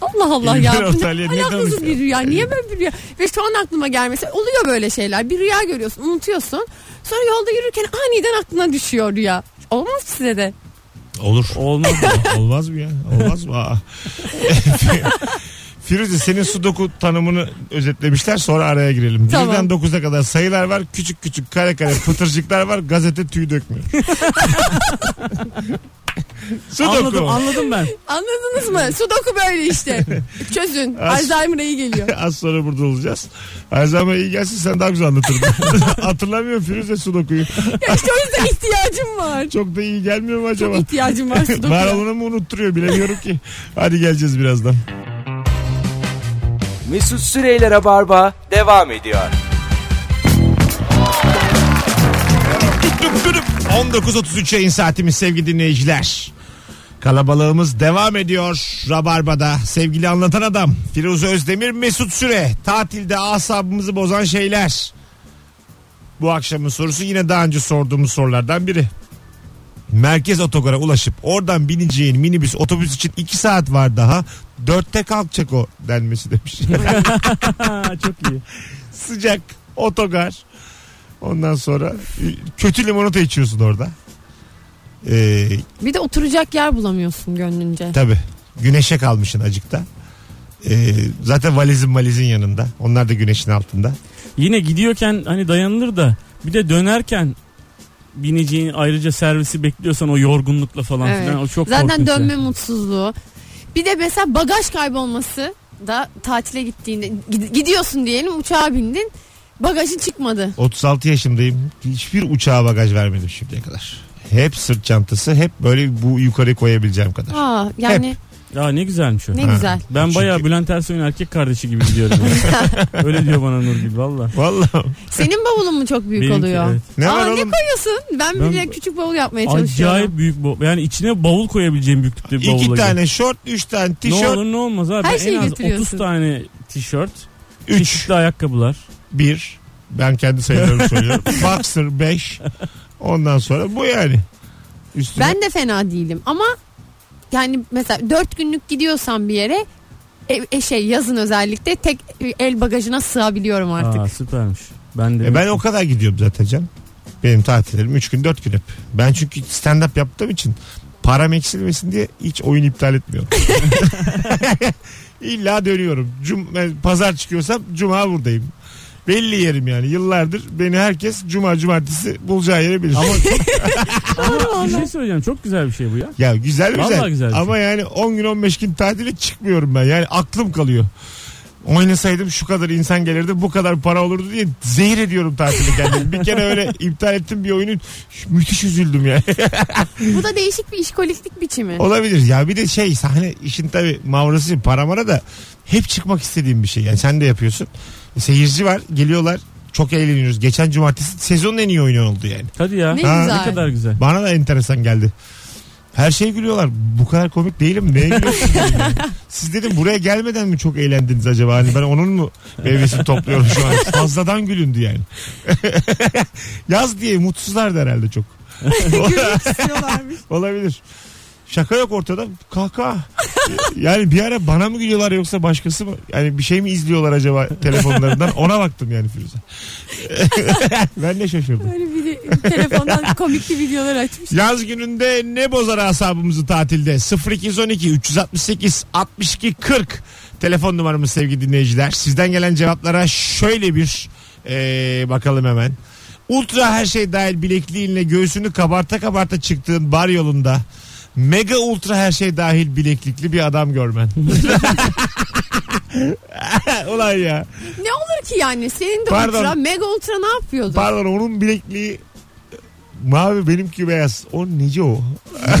Speaker 3: Allah Allah
Speaker 2: İlber
Speaker 3: ya. Bu
Speaker 2: Ortaylı'ya
Speaker 3: Ne
Speaker 2: ne
Speaker 3: alakasız
Speaker 2: danışıyor?
Speaker 3: bir rüya. Niye böyle bir rüya? Ve şu an aklıma gelmesi oluyor böyle şeyler. Bir rüya görüyorsun unutuyorsun. Sonra yolda yürürken aniden aklına düşüyor rüya. Olmaz size de.
Speaker 2: Olur.
Speaker 4: Olmaz.
Speaker 2: Olmaz mı ya? Olmaz mı? Aa. Firuze senin sudoku tanımını özetlemişler sonra araya girelim.
Speaker 3: Tamam.
Speaker 2: Birden 9'a kadar sayılar var. Küçük küçük kare kare pıtırcıklar var. Gazete tüy dökmüyor. sudoku.
Speaker 4: anladım anladım ben.
Speaker 3: Anladınız mı? Sudoku böyle işte. Çözün. Alzheimer'a iyi geliyor.
Speaker 2: Az sonra burada olacağız. Her zaman iyi gelsin sen daha güzel anlatırdın. Hatırlamıyorum Firuze sudokuyu.
Speaker 3: Ya işte o yüzden ihtiyacım var.
Speaker 2: Çok da iyi gelmiyor mu acaba?
Speaker 3: Çok ihtiyacım var
Speaker 2: Var
Speaker 3: Sudoku'ya.
Speaker 2: olanı mı unutturuyor bilemiyorum ki. Hadi geleceğiz birazdan.
Speaker 1: Mesut Süreyler'e barba devam ediyor.
Speaker 2: 19.33 yayın saatimiz sevgili dinleyiciler. Kalabalığımız devam ediyor Rabarba'da. Sevgili anlatan adam Firuze Özdemir Mesut Süre. Tatilde asabımızı bozan şeyler. Bu akşamın sorusu yine daha önce sorduğumuz sorulardan biri. Merkez otogara ulaşıp oradan bineceğin minibüs otobüs için 2 saat var daha. Dörtte kalkacak o denmesi demiş.
Speaker 4: Ha, çok iyi.
Speaker 2: Sıcak otogar. Ondan sonra e, kötü limonata içiyorsun orada. Ee,
Speaker 3: Bir de oturacak yer bulamıyorsun gönlünce.
Speaker 2: tabii güneşe kalmışsın acıkta. Ee, zaten valizin valizin yanında. Onlar da güneşin altında.
Speaker 4: Yine gidiyorken hani dayanılır da bir de dönerken bineceğin ayrıca servisi bekliyorsan o yorgunlukla falan
Speaker 3: Evet.
Speaker 4: filan o çok
Speaker 3: Zaten
Speaker 4: korkunç.
Speaker 3: dönme
Speaker 4: yani.
Speaker 3: mutsuzluğu. Bir de mesela bagaj kaybolması da tatile gittiğinde gid- gidiyorsun diyelim uçağa bindin. Bagajın çıkmadı.
Speaker 2: 36 yaşındayım. Hiçbir uçağa bagaj vermedim şimdiye kadar. Hep sırt çantası, hep böyle bu yukarı koyabileceğim kadar.
Speaker 3: Aa yani
Speaker 4: Ya ne güzelmiş o.
Speaker 3: ne
Speaker 2: Ha.
Speaker 3: güzel.
Speaker 4: Ben
Speaker 2: Çünkü-
Speaker 4: bayağı Bülent Ersoy'un erkek kardeşi gibi gidiyorum. yani. Öyle diyor bana Nur gibi valla.
Speaker 2: Vallahi.
Speaker 3: Senin bavulun mu çok büyük
Speaker 4: Benimki,
Speaker 3: oluyor?
Speaker 4: evet.
Speaker 2: Ne
Speaker 3: Aa,
Speaker 2: var
Speaker 3: ne
Speaker 2: oğlum?
Speaker 3: koyuyorsun? Ben,
Speaker 4: Ben-
Speaker 3: bile küçük bavul yapmaya çalışıyorum.
Speaker 4: Acayip büyük bavul. Yani içine bavul koyabileceğim büyüklükte bir bavulla.
Speaker 2: İki
Speaker 4: gidiyorum.
Speaker 2: tane şort, üç tane
Speaker 4: Ne
Speaker 2: tişört,
Speaker 4: olur ne olmaz abi.
Speaker 3: Her
Speaker 4: en
Speaker 3: şeyi
Speaker 4: az
Speaker 3: götürüyorsun.
Speaker 4: 30 tane tişört,
Speaker 2: üç,
Speaker 4: çeşitli ayakkabılar.
Speaker 2: bir. Ben kendi sayılarımı söylüyorum. Boxer beş. Ondan sonra bu yani. Üstüne
Speaker 3: Ben de fena değilim ama yani mesela dört günlük gidiyorsam bir yere e, e, şey yazın özellikle tek el bagajına sığabiliyorum artık.
Speaker 4: Aa, süpermiş. Ben de
Speaker 2: E ben o kadar gidiyorum zaten canım. Benim tatillerim 3 gün 4 gün hep. Ben çünkü stand up yaptığım için param eksilmesin diye hiç oyun iptal etmiyorum. İlla dönüyorum. Cum ben pazar çıkıyorsam cuma buradayım. Belli yerim yani. Yıllardır beni herkes cuma cumartesi bulacağı yere bilir.
Speaker 4: Ama bir şey söyleyeceğim. Çok güzel bir şey bu ya.
Speaker 2: ya güzel
Speaker 4: Vallahi
Speaker 2: güzel.
Speaker 4: güzel bir şey.
Speaker 2: Ama yani 10 gün 15 gün tatile çıkmıyorum ben. Yani aklım kalıyor. Oynasaydım şu kadar insan gelirdi bu kadar para olurdu diye zehir ediyorum tatili kendimi. bir kere öyle iptal ettim bir oyunu müthiş üzüldüm yani.
Speaker 3: Bu da değişik bir işkoliklik biçimi.
Speaker 2: Olabilir ya bir de şey sahne işin tabi mavrası para mara da hep çıkmak istediğim bir şey. Yani sen de yapıyorsun. Seyirci var geliyorlar çok eğleniyoruz. Geçen cumartesi sezonun en iyi oyunu oldu yani.
Speaker 4: Hadi ya.
Speaker 3: Ne
Speaker 4: Ne,
Speaker 2: Ha.
Speaker 3: güzel.
Speaker 4: kadar güzel.
Speaker 2: Bana da enteresan geldi. Her şeye gülüyorlar. Bu kadar komik değilim. Neye gülüyorsunuz? dedim yani. Siz dedim buraya gelmeden mi çok eğlendiniz acaba? Hani ben onun mu meyvesini topluyorum şu an? Fazladan gülündü yani. Yaz diye mutsuzlardı herhalde çok. Olabilir. Şaka yok ortada. Kahkaha. Yani bir ara bana mı gülüyorlar yoksa başkası mı? Yani bir şey mi izliyorlar acaba telefonlarından? Ona baktım yani Firuze. ben de şaşırdım.
Speaker 3: Böyle bir telefondan komikli videolar açmış.
Speaker 2: Yaz gününde ne bozar asabımızı tatilde? 0212 368 62 40 telefon numaramız sevgili dinleyiciler. Sizden gelen cevaplara şöyle bir eee, bakalım hemen. Ultra her şey dahil bilekliğinle göğsünü kabarta kabarta çıktığın bar yolunda mega ultra her şey dahil bileklikli bir adam görmen. Ulan ya.
Speaker 3: Ne olur ki yani senin de
Speaker 2: Pardon.
Speaker 3: ultra mega ultra ne yapıyordu?
Speaker 2: Pardon onun bilekliği mavi benimki beyaz. O nice o.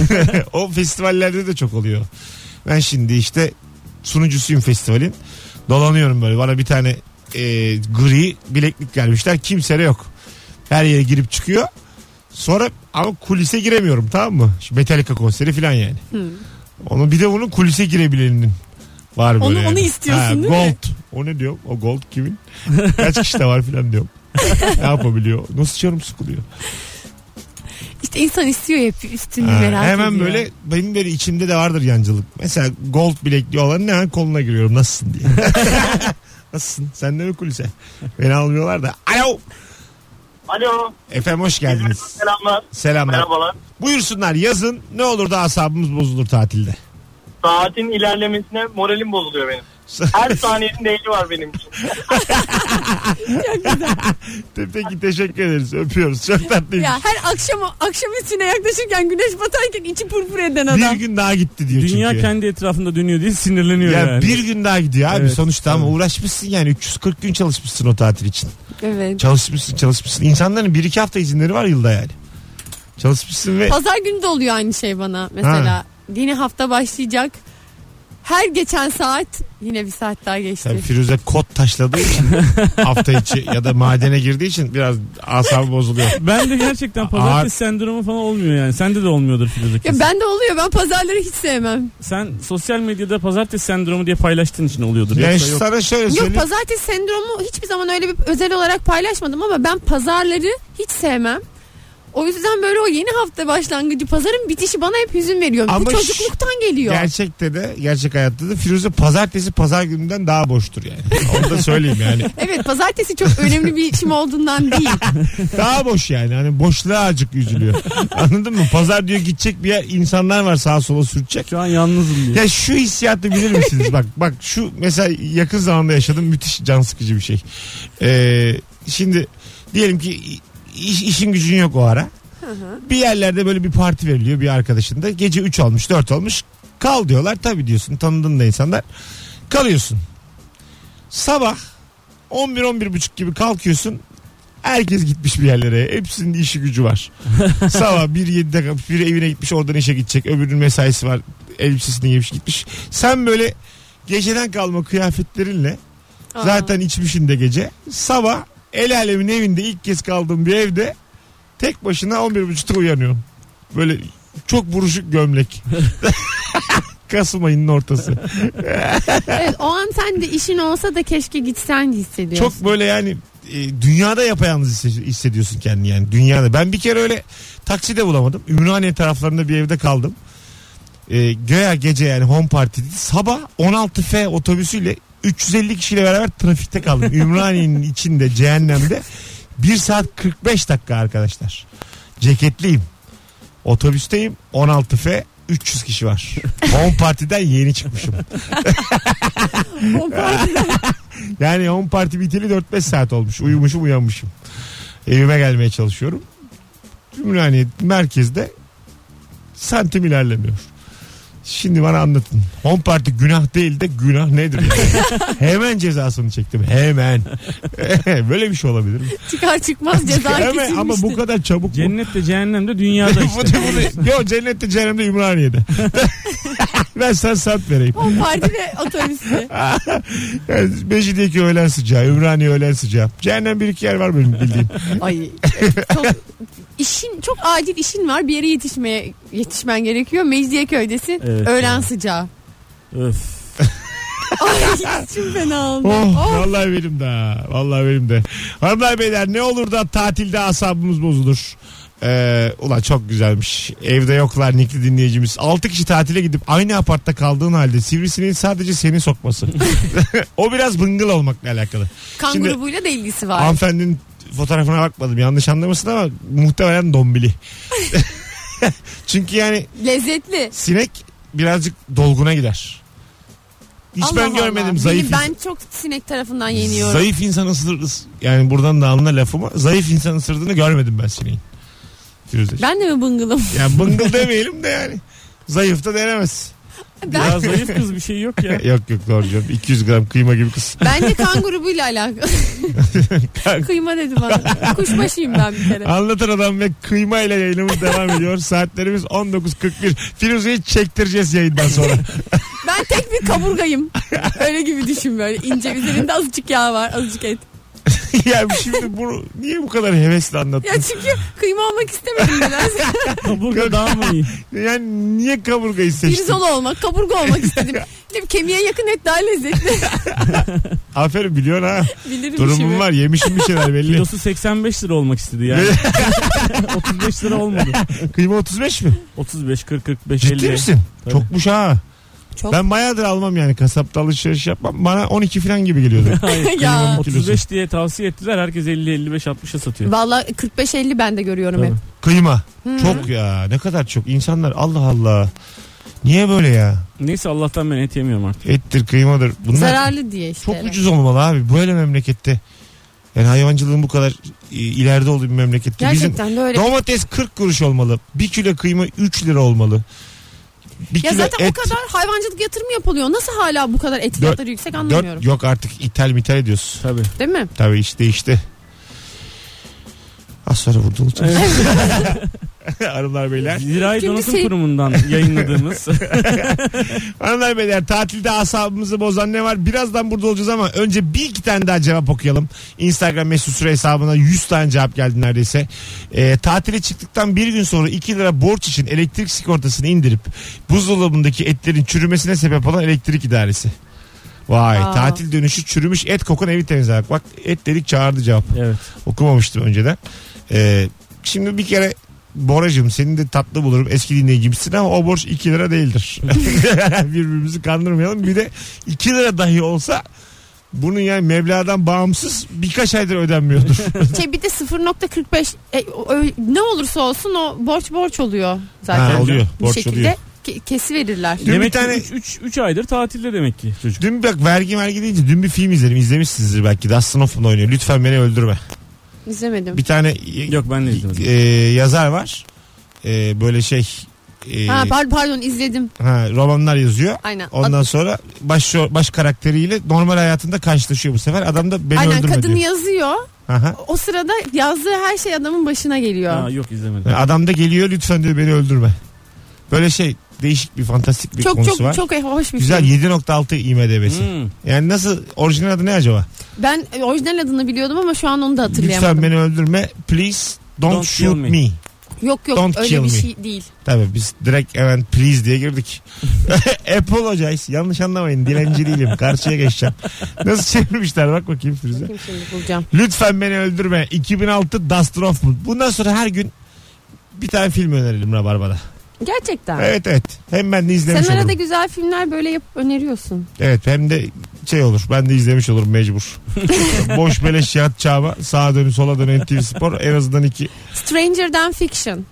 Speaker 2: o festivallerde de çok oluyor. Ben şimdi işte sunucusuyum festivalin. Dolanıyorum böyle. Bana bir tane e, gri bileklik gelmişler. Kimse de yok. Her yere girip çıkıyor. Sonra ama kulise giremiyorum tamam mı? Şu Metallica konseri falan yani.
Speaker 3: Hı.
Speaker 2: Onu bir de onun kulise girebilenin var böyle.
Speaker 3: Onu-
Speaker 2: yani.
Speaker 3: onu istiyorsun değil mi?
Speaker 2: gold. O ne diyor? O gold kimin? Kaç kişi de var filan diyorum. ne yapabiliyor? Nasıl canım sıkılıyor?
Speaker 3: İşte insan istiyor hep üstünü
Speaker 2: Ha,
Speaker 3: merak
Speaker 2: hemen
Speaker 3: ediyor.
Speaker 2: böyle benim de içimde de vardır yancılık. Mesela gold bilekli olanın hemen koluna giriyorum. Nasılsın diye. Nasılsın? Sen de mi kulise? Beni almıyorlar da. Alo.
Speaker 6: Alo.
Speaker 2: Efendim hoş geldiniz.
Speaker 6: Selamlar.
Speaker 2: Selamlar.
Speaker 6: Merhabalar.
Speaker 2: Buyursunlar yazın. Ne olur da asabımız bozulur tatilde.
Speaker 6: Saatin ilerlemesine moralim bozuluyor benim. Her saniyenin değeri var benim için.
Speaker 2: Peki teşekkür ederiz. Öpüyoruz. Çok tatlıyım.
Speaker 3: Ya her akşam akşam üstüne yaklaşırken güneş batarken içi purpur eden adam.
Speaker 2: Bir gün daha gitti diyor
Speaker 4: Dünya
Speaker 2: çünkü.
Speaker 4: kendi etrafında dönüyor diye sinirleniyor
Speaker 2: Ya
Speaker 4: yani.
Speaker 2: bir gün daha gidiyor abi
Speaker 4: Evet,
Speaker 2: sonuçta ama
Speaker 4: evet.
Speaker 2: uğraşmışsın yani 340 gün çalışmışsın o tatil için.
Speaker 3: Evet.
Speaker 2: Çalışmışsın çalışmışsın. İnsanların bir iki hafta izinleri var yılda yani. Çalışmışsın ve
Speaker 3: Pazar günü de oluyor aynı şey bana mesela.
Speaker 2: Ha.
Speaker 3: Yeni hafta başlayacak. Her geçen saat yine bir saat daha geçti.
Speaker 2: Tabii Firuze kot taşladığı için hafta içi ya da madene girdiği için biraz asabı bozuluyor.
Speaker 4: Ben de gerçekten pazartesi sendromu falan olmuyor yani. Sende de olmuyordur Firuze
Speaker 3: Ya
Speaker 4: kesin.
Speaker 3: ben de oluyor. Ben pazarları hiç sevmem.
Speaker 4: Sen sosyal medyada pazartesi sendromu diye paylaştığın için oluyordur.
Speaker 2: Yani
Speaker 4: Yoksa yok.
Speaker 2: sana şöyle
Speaker 3: Yok
Speaker 2: söyleyeyim.
Speaker 3: pazartesi sendromu hiçbir zaman öyle bir özel olarak paylaşmadım ama ben pazarları hiç sevmem. O yüzden böyle o yeni hafta başlangıcı pazarın bitişi bana hep hüzün veriyor.
Speaker 2: Ama
Speaker 3: Bu
Speaker 2: şu-
Speaker 3: çocukluktan geliyor.
Speaker 2: Gerçekte de gerçek hayatta da Firuze pazartesi pazar gününden daha boştur yani. Onu da söyleyeyim yani.
Speaker 3: Evet pazartesi çok önemli bir işim olduğundan değil.
Speaker 2: Daha boş yani. Hani boşluğa acık üzülüyor. Anladın mı? Pazar diyor gidecek bir yer insanlar var sağa sola sürtecek.
Speaker 4: Şu an yalnızım diyor.
Speaker 2: Ya şu hissiyatı bilir misiniz? bak bak şu mesela yakın zamanda yaşadım müthiş can sıkıcı bir şey. Ee, şimdi diyelim ki iş- işin gücün yok o ara. Bir yerlerde böyle bir parti veriliyor bir arkadaşında. Gece 3 olmuş 4 olmuş. Kal diyorlar. Tabii diyorsun tanıdığın da insanlar. Kalıyorsun. Sabah 11-11.30 gibi kalkıyorsun. Herkes gitmiş bir yerlere. Hepsinin işi gücü var. Sabah bir 7'de kalkmış. Biri evine gitmiş oradan işe gidecek. Öbürünün mesaisi var. Elbisesini giymiş gitmiş. Sen böyle geceden kalma kıyafetlerinle
Speaker 3: Aa.
Speaker 2: zaten içmişin de gece. Sabah el alemin evinde ilk kez kaldığın bir evde tek başına 11.30'da uyanıyorsun. Böyle çok buruşuk gömlek. Kasım ayının ortası.
Speaker 3: Evet o an sen de işin olsa da keşke gitsen hissediyorsun.
Speaker 2: Çok böyle yani e, dünyada yapayalnız hisse- hissediyorsun kendini yani dünyada. Ben bir kere öyle taksi de bulamadım. Ümraniye taraflarında bir evde kaldım. E, göya gece yani home party dedi. Sabah 16F otobüsüyle 350 kişiyle beraber trafikte kaldım. Ümraniye'nin içinde cehennemde 1 saat 45 dakika arkadaşlar. Ceketliyim. Otobüsteyim 16F 300 kişi var. Home partiden yeni çıkmışım.
Speaker 3: O parti-
Speaker 2: Yani home parti biteli 4-5 saat olmuş. Uyumuşum uyanmışım. Evime gelmeye çalışıyorum. Ümraniye merkezde santim ilerlemiyor. Şimdi bana anlatın. Home parti günah değil de günah nedir? yani? Hemen cezasını çektim. Hemen. Böyle bir şey olabilir mi?
Speaker 3: Çıkar çıkmaz ceza
Speaker 2: Hemen, ama bu
Speaker 3: kesilmişti.
Speaker 2: kadar çabuk mu?
Speaker 4: Cennet de cehennem de dünyada
Speaker 2: Bu
Speaker 4: işte.
Speaker 2: da- bu da- Yo cennette cehennemde Ümraniye'de. ben sana sant vereyim.
Speaker 3: O parti ve otobüsü.
Speaker 2: Yani Beşiktaş'taki öğlen sıcağı, Ümraniye öğlen sıcağı. Cehennem bir iki yer var benim bildiğim.
Speaker 3: Ay çok işin çok acil işin var bir yere yetişmeye yetişmen gerekiyor. Mecidiyeköy'desin.
Speaker 4: Evet,
Speaker 3: Öğlen
Speaker 4: evet.
Speaker 3: sıcağı.
Speaker 4: Öf.
Speaker 3: Ay içim fena oldu.
Speaker 2: Oh,
Speaker 3: Oh.
Speaker 2: vallahi benim de. ha. Vallahi benim de. Hanımlar beyler ne olur da tatilde asabımız bozulur. Ee, ulan çok güzelmiş. Evde yoklar nikli dinleyicimiz. 6 kişi tatile gidip aynı apartta kaldığın halde sivrisineğin sadece seni sokması. o biraz bıngıl olmakla alakalı.
Speaker 3: Kan
Speaker 2: Şimdi-
Speaker 3: grubuyla da ilgisi var.
Speaker 2: Hanımefendinin fotoğrafına bakmadım yanlış anlamasın ama muhtemelen dombili. Çünkü yani
Speaker 3: Lezzetli.
Speaker 2: sinek birazcık dolguna gider. Hiç
Speaker 3: Allah
Speaker 2: ben görmedim
Speaker 3: Allah.
Speaker 2: zayıf
Speaker 3: Benim- Ben çok sinek tarafından yeniyorum.
Speaker 2: Zayıf insan ısırır, ıs- yani buradan da anla lafımı. Zayıf insan ısırdığını görmedim ben sineğin. Firuze.
Speaker 3: Ben de mi bıngılım?
Speaker 2: Yani bıngıl demeyelim de yani. Zayıf da denemez.
Speaker 3: Ben,
Speaker 4: Biraz zayıf kız bir şey yok ya.
Speaker 2: yok yok doğru canım. 200 gram kıyma gibi kız.
Speaker 3: bence kan grubuyla alakalı. Kıyma dedi bana. Kuşbaşıyım ben bir kere.
Speaker 2: Anlatan Adam ve Kıyma ile yayınımız devam ediyor. Saatlerimiz 19.41. Firuze'yi çektireceğiz yayından sonra.
Speaker 3: Ben tek bir kaburgayım. Öyle gibi düşün böyle. ince üzerinde azıcık yağ var azıcık et.
Speaker 2: yani şimdi bunu niye bu kadar hevesle anlattın?
Speaker 3: Ya çünkü kıyma olmak istemedim biraz.
Speaker 4: Kaburga daha mı iyi?
Speaker 2: Yani niye kaburgayı seçtin?
Speaker 3: Pirzola olmak, kaburga olmak istedim. Dedim, kemiğe yakın et daha lezzetli.
Speaker 2: Aferin biliyorsun ha.
Speaker 3: Bilirim
Speaker 2: Durumum
Speaker 3: işimi.
Speaker 2: var yemişim bir şeyler belli.
Speaker 4: Kilosu 85 lira olmak istedi yani. 35 lira olmadı.
Speaker 2: Kıyma 35 mi?
Speaker 4: 35, 40, 45, 50.
Speaker 2: Ciddi misin?
Speaker 4: Tabii.
Speaker 2: Çokmuş ha.
Speaker 3: Çok.
Speaker 2: Ben bayağıdır almam yani kasapta alışveriş yapmam. Bana 12 falan gibi geliyordu.
Speaker 4: Hayır.
Speaker 3: ya.
Speaker 4: 35 diye tavsiye ettiler. Herkes 50, 55, 60'a satıyor.
Speaker 3: Valla 45-50 ben de görüyorum
Speaker 4: Tabii.
Speaker 3: hep.
Speaker 2: Kıyma.
Speaker 3: Hmm.
Speaker 2: Çok ya ne kadar çok. insanlar Allah Allah. Niye böyle ya?
Speaker 4: Neyse Allah'tan ben et yemiyorum artık.
Speaker 2: Ettir kıymadır. Bunlar
Speaker 3: Zararlı diye işte.
Speaker 2: çok ucuz olmalı abi. Böyle memlekette. Yani hayvancılığın bu kadar e, ileride olduğu bir memlekette.
Speaker 3: Gerçekten de öyle.
Speaker 2: Bizim domates 40 kuruş olmalı. 1 kilo kıyma 3 lira olmalı. 1
Speaker 3: Ya
Speaker 2: kilo
Speaker 3: zaten
Speaker 2: et
Speaker 3: o kadar hayvancılık yatırımı yapılıyor. Nasıl hala bu kadar et fiyatları yüksek anlamıyorum.
Speaker 2: Dört, yok artık ithal mithal ediyoruz.
Speaker 4: Tabii.
Speaker 3: Değil mi?
Speaker 2: Tabii iş değişti. Az sonra burada olacağız. Hanımlar beyler.
Speaker 4: Zirai
Speaker 3: Şimdi
Speaker 4: Donatım
Speaker 3: şey-
Speaker 4: Kurumu'ndan yayınladığımız
Speaker 2: Hanımlar beyler tatilde asabımızı bozan ne var? Birazdan burada olacağız ama önce bir iki tane daha cevap okuyalım. Instagram mesut süre hesabına 100 tane cevap geldi neredeyse. Ee, tatile çıktıktan bir gün sonra 2 lira borç için elektrik sigortasını indirip buzdolabındaki etlerin çürümesine sebep olan elektrik idaresi. Vay
Speaker 3: Aa.
Speaker 2: tatil dönüşü çürümüş et kokun evi temizlemek. Bak et dedik çağırdı cevap.
Speaker 4: evet.
Speaker 2: Okumamıştım önceden. Ee, Şimdi bir kere Boracığım seni de tatlı bulurum eski dinleyicimsin ama o borç 2 lira değildir. Birbirimizi kandırmayalım. Bir de 2 lira dahi olsa bunun yani meblağdan bağımsız birkaç aydır ödenmiyordur.
Speaker 3: Şey bir de 0.45 e, o- ö- ne olursa olsun o borç borç oluyor zaten.
Speaker 2: ha, oluyor.
Speaker 3: bir
Speaker 2: Borç
Speaker 3: şekilde
Speaker 2: oluyor.
Speaker 3: ke- kesi verirler.
Speaker 2: Dün bir
Speaker 4: Demek
Speaker 2: tane-
Speaker 4: ki 3 aydır tatilde demek ki çocuk.
Speaker 2: Dün bak vergi vergi deyince dün bir film izledim. İzlemişsinizdir belki. Dustin Hoffman oynuyor. Lütfen beni öldürme.
Speaker 3: İzlemedim.
Speaker 2: Bir tane
Speaker 4: Yok ben de izlemedim.
Speaker 2: e, yazar var. E, böyle şey e,
Speaker 3: Ha, par- pardon izledim.
Speaker 2: ha, romanlar yazıyor.
Speaker 3: Aynen.
Speaker 2: Ondan sonra baş baş karakteriyle normal hayatında karşılaşıyor bu sefer. Adam da beni
Speaker 3: Aynen
Speaker 2: öldürme
Speaker 3: kadın
Speaker 2: diyor.
Speaker 3: yazıyor.
Speaker 2: Aha.
Speaker 3: O sırada yazdığı her şey adamın başına
Speaker 2: e-
Speaker 3: geliyor.
Speaker 4: Ha, yok izlemedim.
Speaker 2: Adam da geliyor lütfen diyor beni öldürme. Böyle şey değişik bir fantastik bir
Speaker 3: çok
Speaker 2: konusu
Speaker 3: çok
Speaker 2: var.
Speaker 3: çok eh, hoş bir şey.
Speaker 2: Güzel
Speaker 3: film.
Speaker 2: 7.6 IMDB'si.
Speaker 4: Hmm.
Speaker 2: Yani nasıl orijinal adı ne acaba?
Speaker 3: Ben e, orijinal adını biliyordum ama şu an onu da hatırlayamadım.
Speaker 2: Lütfen beni öldürme. Please don't,
Speaker 4: Don't
Speaker 2: shoot
Speaker 4: kill me.
Speaker 2: me.
Speaker 3: Yok yok
Speaker 2: Don't kill
Speaker 3: öyle bir
Speaker 2: me.
Speaker 3: şey değil.
Speaker 2: Tabii biz direkt hemen please diye girdik. Apologize. Yanlış anlamayın. Dilenci değilim. Karşıya geçeceğim. Nasıl çevirmişler bak bakayım Firuze.
Speaker 3: Kim şimdi bulacağım.
Speaker 2: Lütfen beni öldürme. 2006 Dustin Hoffman. Bundan sonra her gün bir tane film önerelim Rabarba'da.
Speaker 3: Gerçekten.
Speaker 2: Evet evet. Hem ben de
Speaker 3: Sen
Speaker 2: izlemiş
Speaker 3: arada
Speaker 2: olurum.
Speaker 3: güzel filmler böyle yapıp öneriyorsun.
Speaker 2: Evet hem de şey olur. Ben de izlemiş olurum mecbur. Boş beleş yat çağıma. Sağa dönü sola dönü NTV Spor. En azından iki.
Speaker 3: Stranger Than Fiction.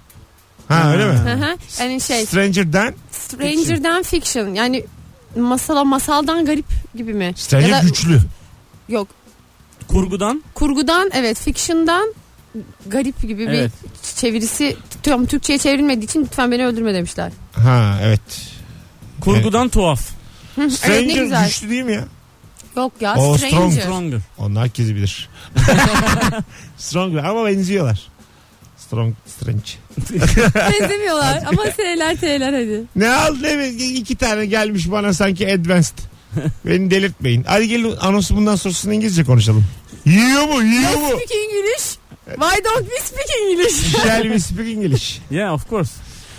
Speaker 2: Ha öyle mi?
Speaker 3: Hı hı. yani şey
Speaker 2: Stranger Than.
Speaker 3: Stranger Than Fiction. Yani masala masaldan garip gibi mi?
Speaker 2: Stranger
Speaker 3: Ya da-
Speaker 2: güçlü.
Speaker 3: Yok.
Speaker 4: Kurgudan
Speaker 3: Kurgudan evet fiction'dan garip gibi
Speaker 4: Evet.
Speaker 3: bir çevirisi tam Türkçe'ye çevrilmediği için lütfen beni öldürme demişler.
Speaker 2: Ha evet.
Speaker 4: kurgudan tuhaf.
Speaker 3: Hı, evet ne
Speaker 2: Stranger
Speaker 3: güzel.
Speaker 2: güçlü değil mi ya?
Speaker 3: Yok ya
Speaker 2: O
Speaker 3: Stranger.
Speaker 4: Stronger.
Speaker 2: Onu herkes bilir. Strong ama benziyorlar. Strong, strange.
Speaker 3: Benzemiyorlar ama S'ler T'ler hadi.
Speaker 2: Ne al ne mi? iki tane gelmiş bana sanki advanced. Beni delirtmeyin. Hadi gelin anonsu bundan sonrasını İngilizce konuşalım. Yiyor mu? Yiyor mu?
Speaker 3: Speak English. Why don't we speak English?
Speaker 2: Shall we speak English?
Speaker 4: Yeah of course.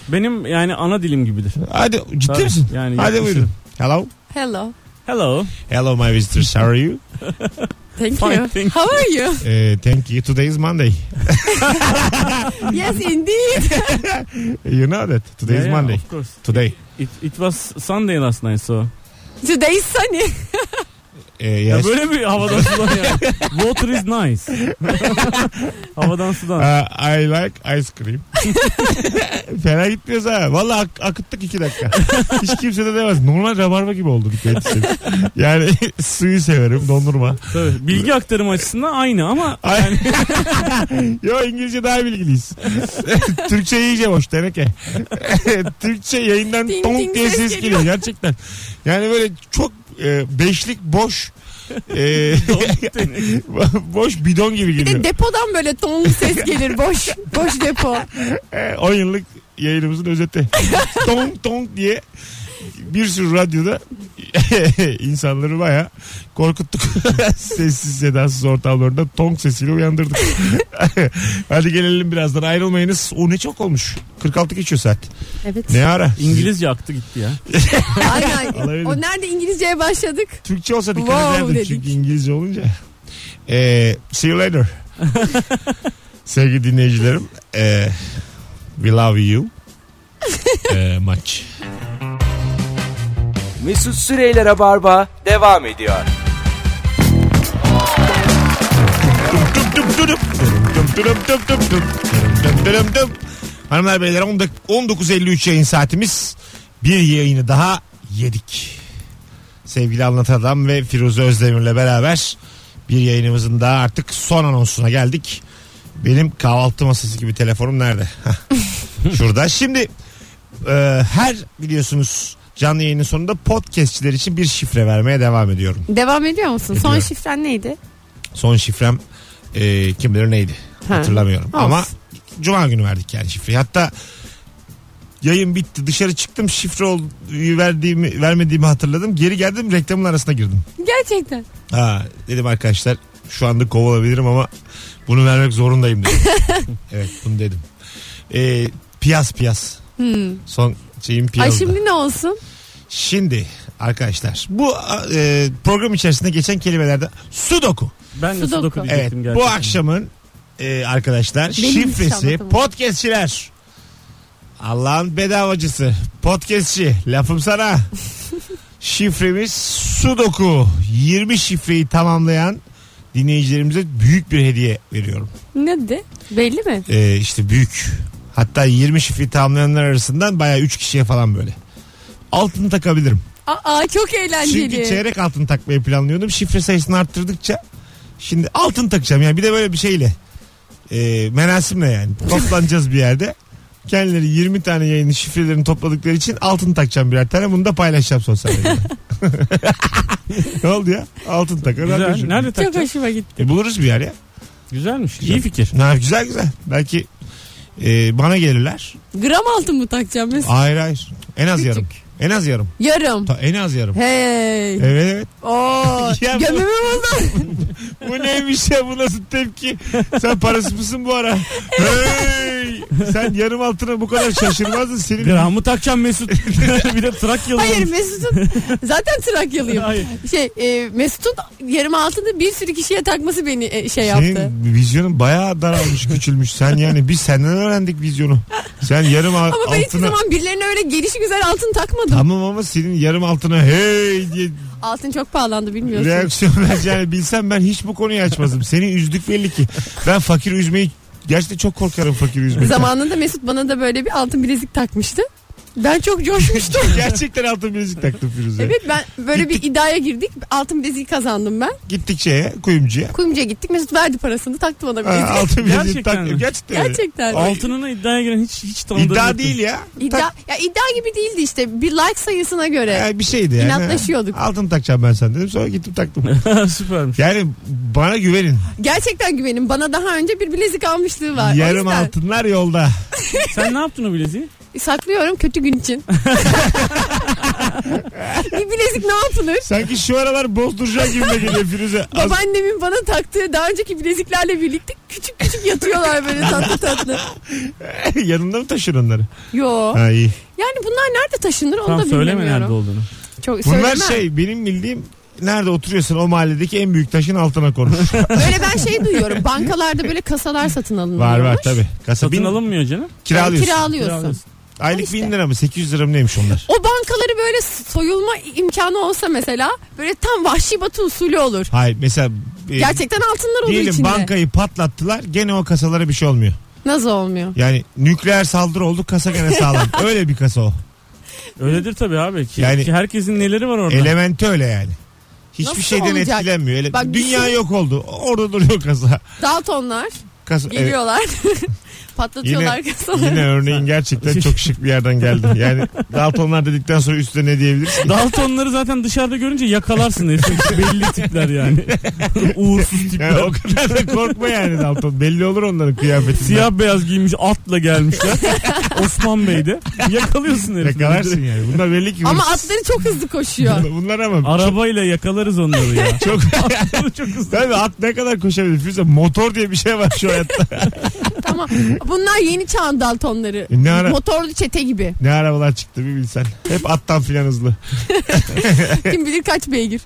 Speaker 4: Benim yani ana dilim gibidir.
Speaker 2: Hadi ciddi
Speaker 4: Tabii,
Speaker 2: misin?
Speaker 4: yani
Speaker 2: Hadi
Speaker 4: yapmışım.
Speaker 2: buyurun. Hello.
Speaker 3: Hello.
Speaker 4: Hello.
Speaker 2: Hello my visitors. How are you?
Speaker 3: Thank
Speaker 4: Fine,
Speaker 3: you.
Speaker 4: thank you.
Speaker 3: How are you?
Speaker 2: Eh, thank you. Today is Monday.
Speaker 3: yes indeed.
Speaker 2: You know that. Today
Speaker 4: Yeah,
Speaker 2: is
Speaker 4: yeah,
Speaker 2: Monday.
Speaker 4: Of course.
Speaker 2: Today.
Speaker 4: It, it was Sunday last night so.
Speaker 3: Today is sunny. E,
Speaker 2: Eh,
Speaker 4: Ya
Speaker 2: yes.
Speaker 4: böyle bir havadan sudan ya. Water is nice. havadan sudan.
Speaker 2: Uh, I like ice cream. Fena gitmiyoruz ha. Valla ak- akıttık iki dakika. Hiç kimse de demez. Normal rabarba gibi oldu dikkat etsin. Yani suyu severim dondurma.
Speaker 4: Tabii. Bilgi aktarımı açısından aynı ama
Speaker 2: Ay. Yo İngilizce daha bilgiliyiz. Türkçe iyice boş teneke. Türkçe yayından
Speaker 3: Ding
Speaker 2: tonk
Speaker 3: ding
Speaker 2: diye
Speaker 3: ses
Speaker 2: ses geliyor
Speaker 3: geliyor.
Speaker 2: gerçekten. Yani böyle çok e, beşlik boş e, boş bidon gibi
Speaker 3: Bir
Speaker 2: geliyor.
Speaker 3: de depodan böyle tonlu ses gelir. Boş boş depo.
Speaker 2: E, 10 yıllık yayınımızın özeti. tong tong diye bir sürü radyoda insanları baya korkuttuk. Sessiz sedasız ortamlarda tong sesiyle uyandırdık. Hadi gelelim birazdan ayrılmayınız. O ne çok olmuş. 46 geçiyor saat.
Speaker 3: Evet.
Speaker 2: Ne ara?
Speaker 4: İngilizce aktı gitti ya.
Speaker 3: Aynen.
Speaker 2: Alabilirim.
Speaker 3: o nerede İngilizceye başladık?
Speaker 2: Türkçe olsa dikkat
Speaker 3: Wow
Speaker 2: ederdim
Speaker 3: dedik.
Speaker 2: çünkü İngilizce olunca. Ee, see you later. Sevgili dinleyicilerim. ee, we love you. Ee, much.
Speaker 1: Mesut Süreyler'e barba devam ediyor.
Speaker 2: Hanımlar beyler 10 dak- 19.53 yayın saatimiz. Bir yayını daha yedik. Sevgili Anlatan Adam ve Firuze Özdemir'le beraber bir yayınımızın daha artık son anonsuna geldik. Benim kahvaltı masası gibi telefonum nerede? Hah, Şurada. Şimdi e, her biliyorsunuz canlı yayının sonunda podcastçiler için bir şifre vermeye devam ediyorum.
Speaker 3: Devam ediyor musun? Son
Speaker 2: Ediyorum.
Speaker 3: şifren neydi?
Speaker 2: Son şifrem e, kim bilir neydi
Speaker 3: Ha.
Speaker 2: hatırlamıyorum.
Speaker 3: Olsun.
Speaker 2: Ama cuma günü verdik yani şifreyi. Hatta yayın bitti dışarı çıktım şifre ol, verdiğimi, vermediğimi hatırladım. Geri geldim reklamın arasına girdim.
Speaker 3: Gerçekten.
Speaker 2: Ha, dedim arkadaşlar şu anda kovalabilirim ama bunu vermek zorundayım dedim. evet bunu dedim. E, piyas piyas.
Speaker 3: Hmm.
Speaker 2: Son şeyim
Speaker 3: Ay
Speaker 2: piyazda.
Speaker 3: şimdi ne olsun?
Speaker 2: Şimdi arkadaşlar bu e, program içerisinde geçen kelimelerde sudoku.
Speaker 4: Ben de
Speaker 3: Sudoku.
Speaker 4: sudoku diyecektim
Speaker 2: Evet
Speaker 4: gerçekten.
Speaker 2: bu akşamın e, arkadaşlar
Speaker 3: Benim hiç
Speaker 2: şifresi
Speaker 3: anlatamadım.
Speaker 2: podcastçiler. Allah'ın bedavacısı. Podcastçi. Lafım sana. Şifremiz sudoku. 20 şifreyi tamamlayan dinleyicilerimize büyük bir hediye veriyorum.
Speaker 3: Ne dedi? Belli mi?
Speaker 2: Ee, işte büyük. Hatta 20 şifreyi tamamlayanlar arasından bayağı 3 kişiye falan böyle. Altını takabilirim.
Speaker 3: Aa çok eğlenceli.
Speaker 2: Çünkü çeyrek altın takmayı planlıyordum. Şifre sayısını arttırdıkça şimdi altın takacağım. Yani bir de böyle bir şeyle. E, merasimle yani. Toplanacağız bir yerde. Kendileri 20 tane yayının şifrelerini topladıkları için altın takacağım birer tane. Bunu da paylaşacağım sosyal medyada. ne oldu ya? Altın takar.
Speaker 4: Güzel.
Speaker 2: radyocu.
Speaker 4: Nerede
Speaker 3: çok
Speaker 4: takacağız?
Speaker 3: hoşuma gitti.
Speaker 2: şey. E, buluruz bir yer ya.
Speaker 4: Güzelmiş.
Speaker 2: Güzel.
Speaker 4: İyi fikir.
Speaker 2: Ne yap- güzel güzel. Belki e, bana gelirler.
Speaker 3: Gram altın mı takacağım mesela?
Speaker 2: Hayır hayır. En az yarım. En az yarım.
Speaker 3: Yarım.
Speaker 2: Ta- en az yarım.
Speaker 3: Hey.
Speaker 2: Evet evet.
Speaker 3: Oo.
Speaker 2: Ya bu-
Speaker 3: Gömümü buldum.
Speaker 2: Bu neymiş ya bu nasıl tepki? Sen parası mısın bu ara? hey! Sen yarım altına bu kadar şaşırmazdın. Senin
Speaker 4: Gramı takacağım Mesut. bir de Trakyalı.
Speaker 3: Hayır
Speaker 4: olmuş.
Speaker 3: Mesut'un zaten Trakyalıyım.
Speaker 4: Hayır.
Speaker 3: Şey e, Mesut'un yarım altını bir sürü kişiye takması beni e, şey yaptı.
Speaker 2: senin vizyonun bayağı daralmış, küçülmüş. Sen yani biz senden öğrendik vizyonu. Sen yarım al-
Speaker 3: Ama ben hiçbir
Speaker 2: altına...
Speaker 3: zaman birilerine öyle geliş güzel altın takmadım.
Speaker 2: Tamam ama senin yarım altına hey diye
Speaker 3: Altın çok pahalandı bilmiyorsun.
Speaker 2: reaksiyon vereceğini bilsem ben hiç bu konuyu açmazdım. Seni üzdük belli ki. Ben fakir üzmeyi gerçekten çok korkarım fakir üzmeyi.
Speaker 3: Zamanında Mesut bana da böyle bir altın bilezik takmıştı. Ben çok coşmuştum.
Speaker 2: gerçekten altın bilezik taktım Firuze.
Speaker 3: evet ben böyle bir iddiaya girdik. Altın bileziği kazandım ben.
Speaker 2: Gittik şeye kuyumcuya.
Speaker 3: Kuyumcuya gittik. Mesut verdi parasını taktı bana
Speaker 2: Ha,
Speaker 3: bileziği.
Speaker 2: altın bilezik
Speaker 4: Gerçekten
Speaker 2: taktım.
Speaker 4: mi?
Speaker 2: Gerçekten. öyle.
Speaker 3: Gerçekten.
Speaker 4: Altınına iddiaya giren hiç hiç tanıdığım
Speaker 2: İddia
Speaker 4: yoktu.
Speaker 2: değil ya.
Speaker 3: İddia,
Speaker 2: Tak-
Speaker 3: ya iddia gibi değildi işte. Bir like sayısına göre.
Speaker 2: yani bir şeydi yani.
Speaker 3: İnatlaşıyorduk.
Speaker 2: Ha, Altın takacağım ben sen dedim. Sonra gittim taktım.
Speaker 4: Süpermiş.
Speaker 2: Yani bana güvenin.
Speaker 3: Gerçekten güvenin. Bana daha önce bir bilezik almışlığı var. O
Speaker 2: Yarım
Speaker 3: yüzden
Speaker 2: altınlar yolda.
Speaker 4: Sen ne yaptın o bileziği?
Speaker 3: Saklıyorum kötü gün için. bir bilezik ne yapılır?
Speaker 2: Sanki şu aralar bozduracak gibi de geliyor Firuze. Az-
Speaker 3: Babaannemin bana taktığı daha önceki bileziklerle birlikte küçük küçük yatıyorlar böyle tatlı tatlı.
Speaker 2: Yanında mı taşır onları?
Speaker 3: Yo.
Speaker 2: Ha, iyi.
Speaker 3: Yani bunlar nerede taşınır onu
Speaker 4: Tam
Speaker 3: da
Speaker 4: söyleme nerede
Speaker 3: bilmiyorum.
Speaker 4: olduğunu.
Speaker 3: Çok
Speaker 2: Bunlar
Speaker 3: söylemem.
Speaker 2: şey benim bildiğim nerede oturuyorsun o mahalledeki en büyük taşın altına konur.
Speaker 3: Böyle ben şey duyuyorum. Bankalarda böyle kasalar satın alınıyor.
Speaker 2: var var tabi. Kasa
Speaker 4: Satın
Speaker 2: bin,
Speaker 4: alınmıyor canım.
Speaker 2: kiralıyorsun.
Speaker 3: kiralıyorsun.
Speaker 4: Kiralıyorsun.
Speaker 2: Aylık
Speaker 3: İşte.
Speaker 2: bin lira mı 800 lira mı neymiş onlar?
Speaker 3: O bankaları böyle soyulma imkanı olsa mesela böyle tam vahşi batı usulü olur.
Speaker 2: Hayır mesela e,
Speaker 3: Gerçekten altınlar olur
Speaker 2: diyelim
Speaker 3: içinde.
Speaker 2: bankayı patlattılar gene o kasalara bir şey olmuyor.
Speaker 3: Nasıl olmuyor?
Speaker 2: Yani nükleer saldırı oldu kasa gene sağlam. Öyle bir kasa o.
Speaker 4: Öyledir tabii abi. Ki,
Speaker 2: Yani-
Speaker 4: ki herkesin neleri var orada.
Speaker 2: Elementi öyle yani. Hiçbir
Speaker 3: Nasıl
Speaker 2: şeyden
Speaker 3: olacak?
Speaker 2: etkilenmiyor. Ele-
Speaker 3: Bak bir
Speaker 2: Dünya
Speaker 3: şey-
Speaker 2: yok oldu. Orada duruyor kasa.
Speaker 3: Daltonlar
Speaker 2: kasa evet.
Speaker 3: geliyorlar. Patlatıyorlar
Speaker 2: Yine-
Speaker 3: kasaları.
Speaker 2: Yine örneğin gerçekten çok şık bir yerden geldi. Yani Daltonlar dedikten sonra üstüne ne diyebilirsin?
Speaker 4: Daltonları zaten dışarıda görünce yakalarsın. Hepsi belli tipler yani. Uğursuz tipler.
Speaker 2: Yani o kadar da korkma yani Dalton. Belli olur onların kıyafetinden.
Speaker 4: Siyah beyaz giymiş atla gelmişler. Osman Bey'de. Yakalıyorsun herifleri.
Speaker 2: yakalarsın yani. Bunlar belli ki
Speaker 3: Ama
Speaker 2: hırsız.
Speaker 3: atları çok hızlı koşuyor.
Speaker 2: Bunlar ama
Speaker 4: Arabayla yakalarız onları ya.
Speaker 2: çok
Speaker 4: Çok- çok hızlı.
Speaker 2: tabii at ne kadar koşabilir? Füze motor diye bir şey var şu hayatta.
Speaker 3: Tamam. Bunlar yeni çağın Daltonları.
Speaker 2: E ne ara-
Speaker 3: Motorlu çete gibi.
Speaker 2: Ne arabalar çıktı bir bilsen. Hep attan filan hızlı.
Speaker 3: Kim bilir kaç beygir.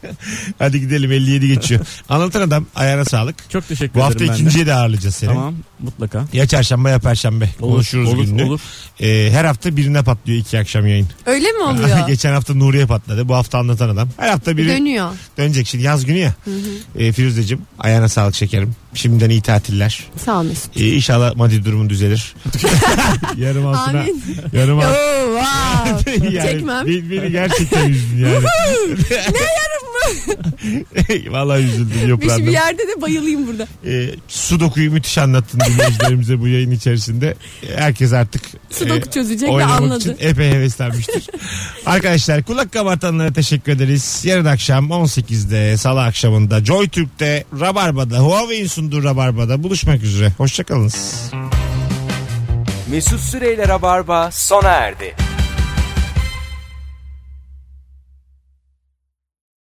Speaker 2: Hadi gidelim 57 geçiyor. Anlatan adam ayağına sağlık.
Speaker 4: Çok teşekkür
Speaker 2: Bu
Speaker 4: ederim
Speaker 2: hafta
Speaker 4: ben de.
Speaker 2: ikinciye de ağırlayacağız seni.
Speaker 4: Tamam mutlaka.
Speaker 2: Ya çarşamba ya perşembe.
Speaker 4: Olur,
Speaker 2: Konuşuruz
Speaker 4: olur,
Speaker 2: gününü.
Speaker 4: olur.
Speaker 2: Ee, her hafta birine patlıyor iki akşam yayın.
Speaker 3: Öyle mi oluyor?
Speaker 2: Geçen hafta Nuriye patladı. Bu hafta anlatan adam. Her hafta biri
Speaker 3: Dönüyor.
Speaker 2: dönecek. Şimdi yaz günü ya. Ee, Firuzeciğim ayağına sağlık şekerim. Şimdiden iyi tatiller. Ee,
Speaker 3: Sağ ol Mesut.
Speaker 2: inşallah maddi durumun düzelir. yarım altına.
Speaker 3: Amin.
Speaker 2: Yarım altına.
Speaker 3: Oo, wow. Çekmem.
Speaker 2: Beni, beni gerçekten üzdün yani.
Speaker 3: ne yarım mı?
Speaker 2: Vallahi üzüldüm
Speaker 3: Bir, şey- bir
Speaker 2: yoprandım.
Speaker 3: yerde de bayılayım burada.
Speaker 2: Ee, sudoku'yu müthiş anlattın dinleyicilerimize bu yayın içerisinde. Herkes artık e,
Speaker 3: Sudoku çözecek ve
Speaker 2: oynamak
Speaker 3: anladı.
Speaker 2: için epey heveslenmiştir. Arkadaşlar kulak kabartanlara teşekkür ederiz. Yarın akşam 18'de salı akşamında Joy Türk'te Rabarba'da Huawei'in sunduğu Rabarba'da buluşmak üzere. Hoşçakalınız.
Speaker 1: Mesut Süreyler'e barba sona erdi.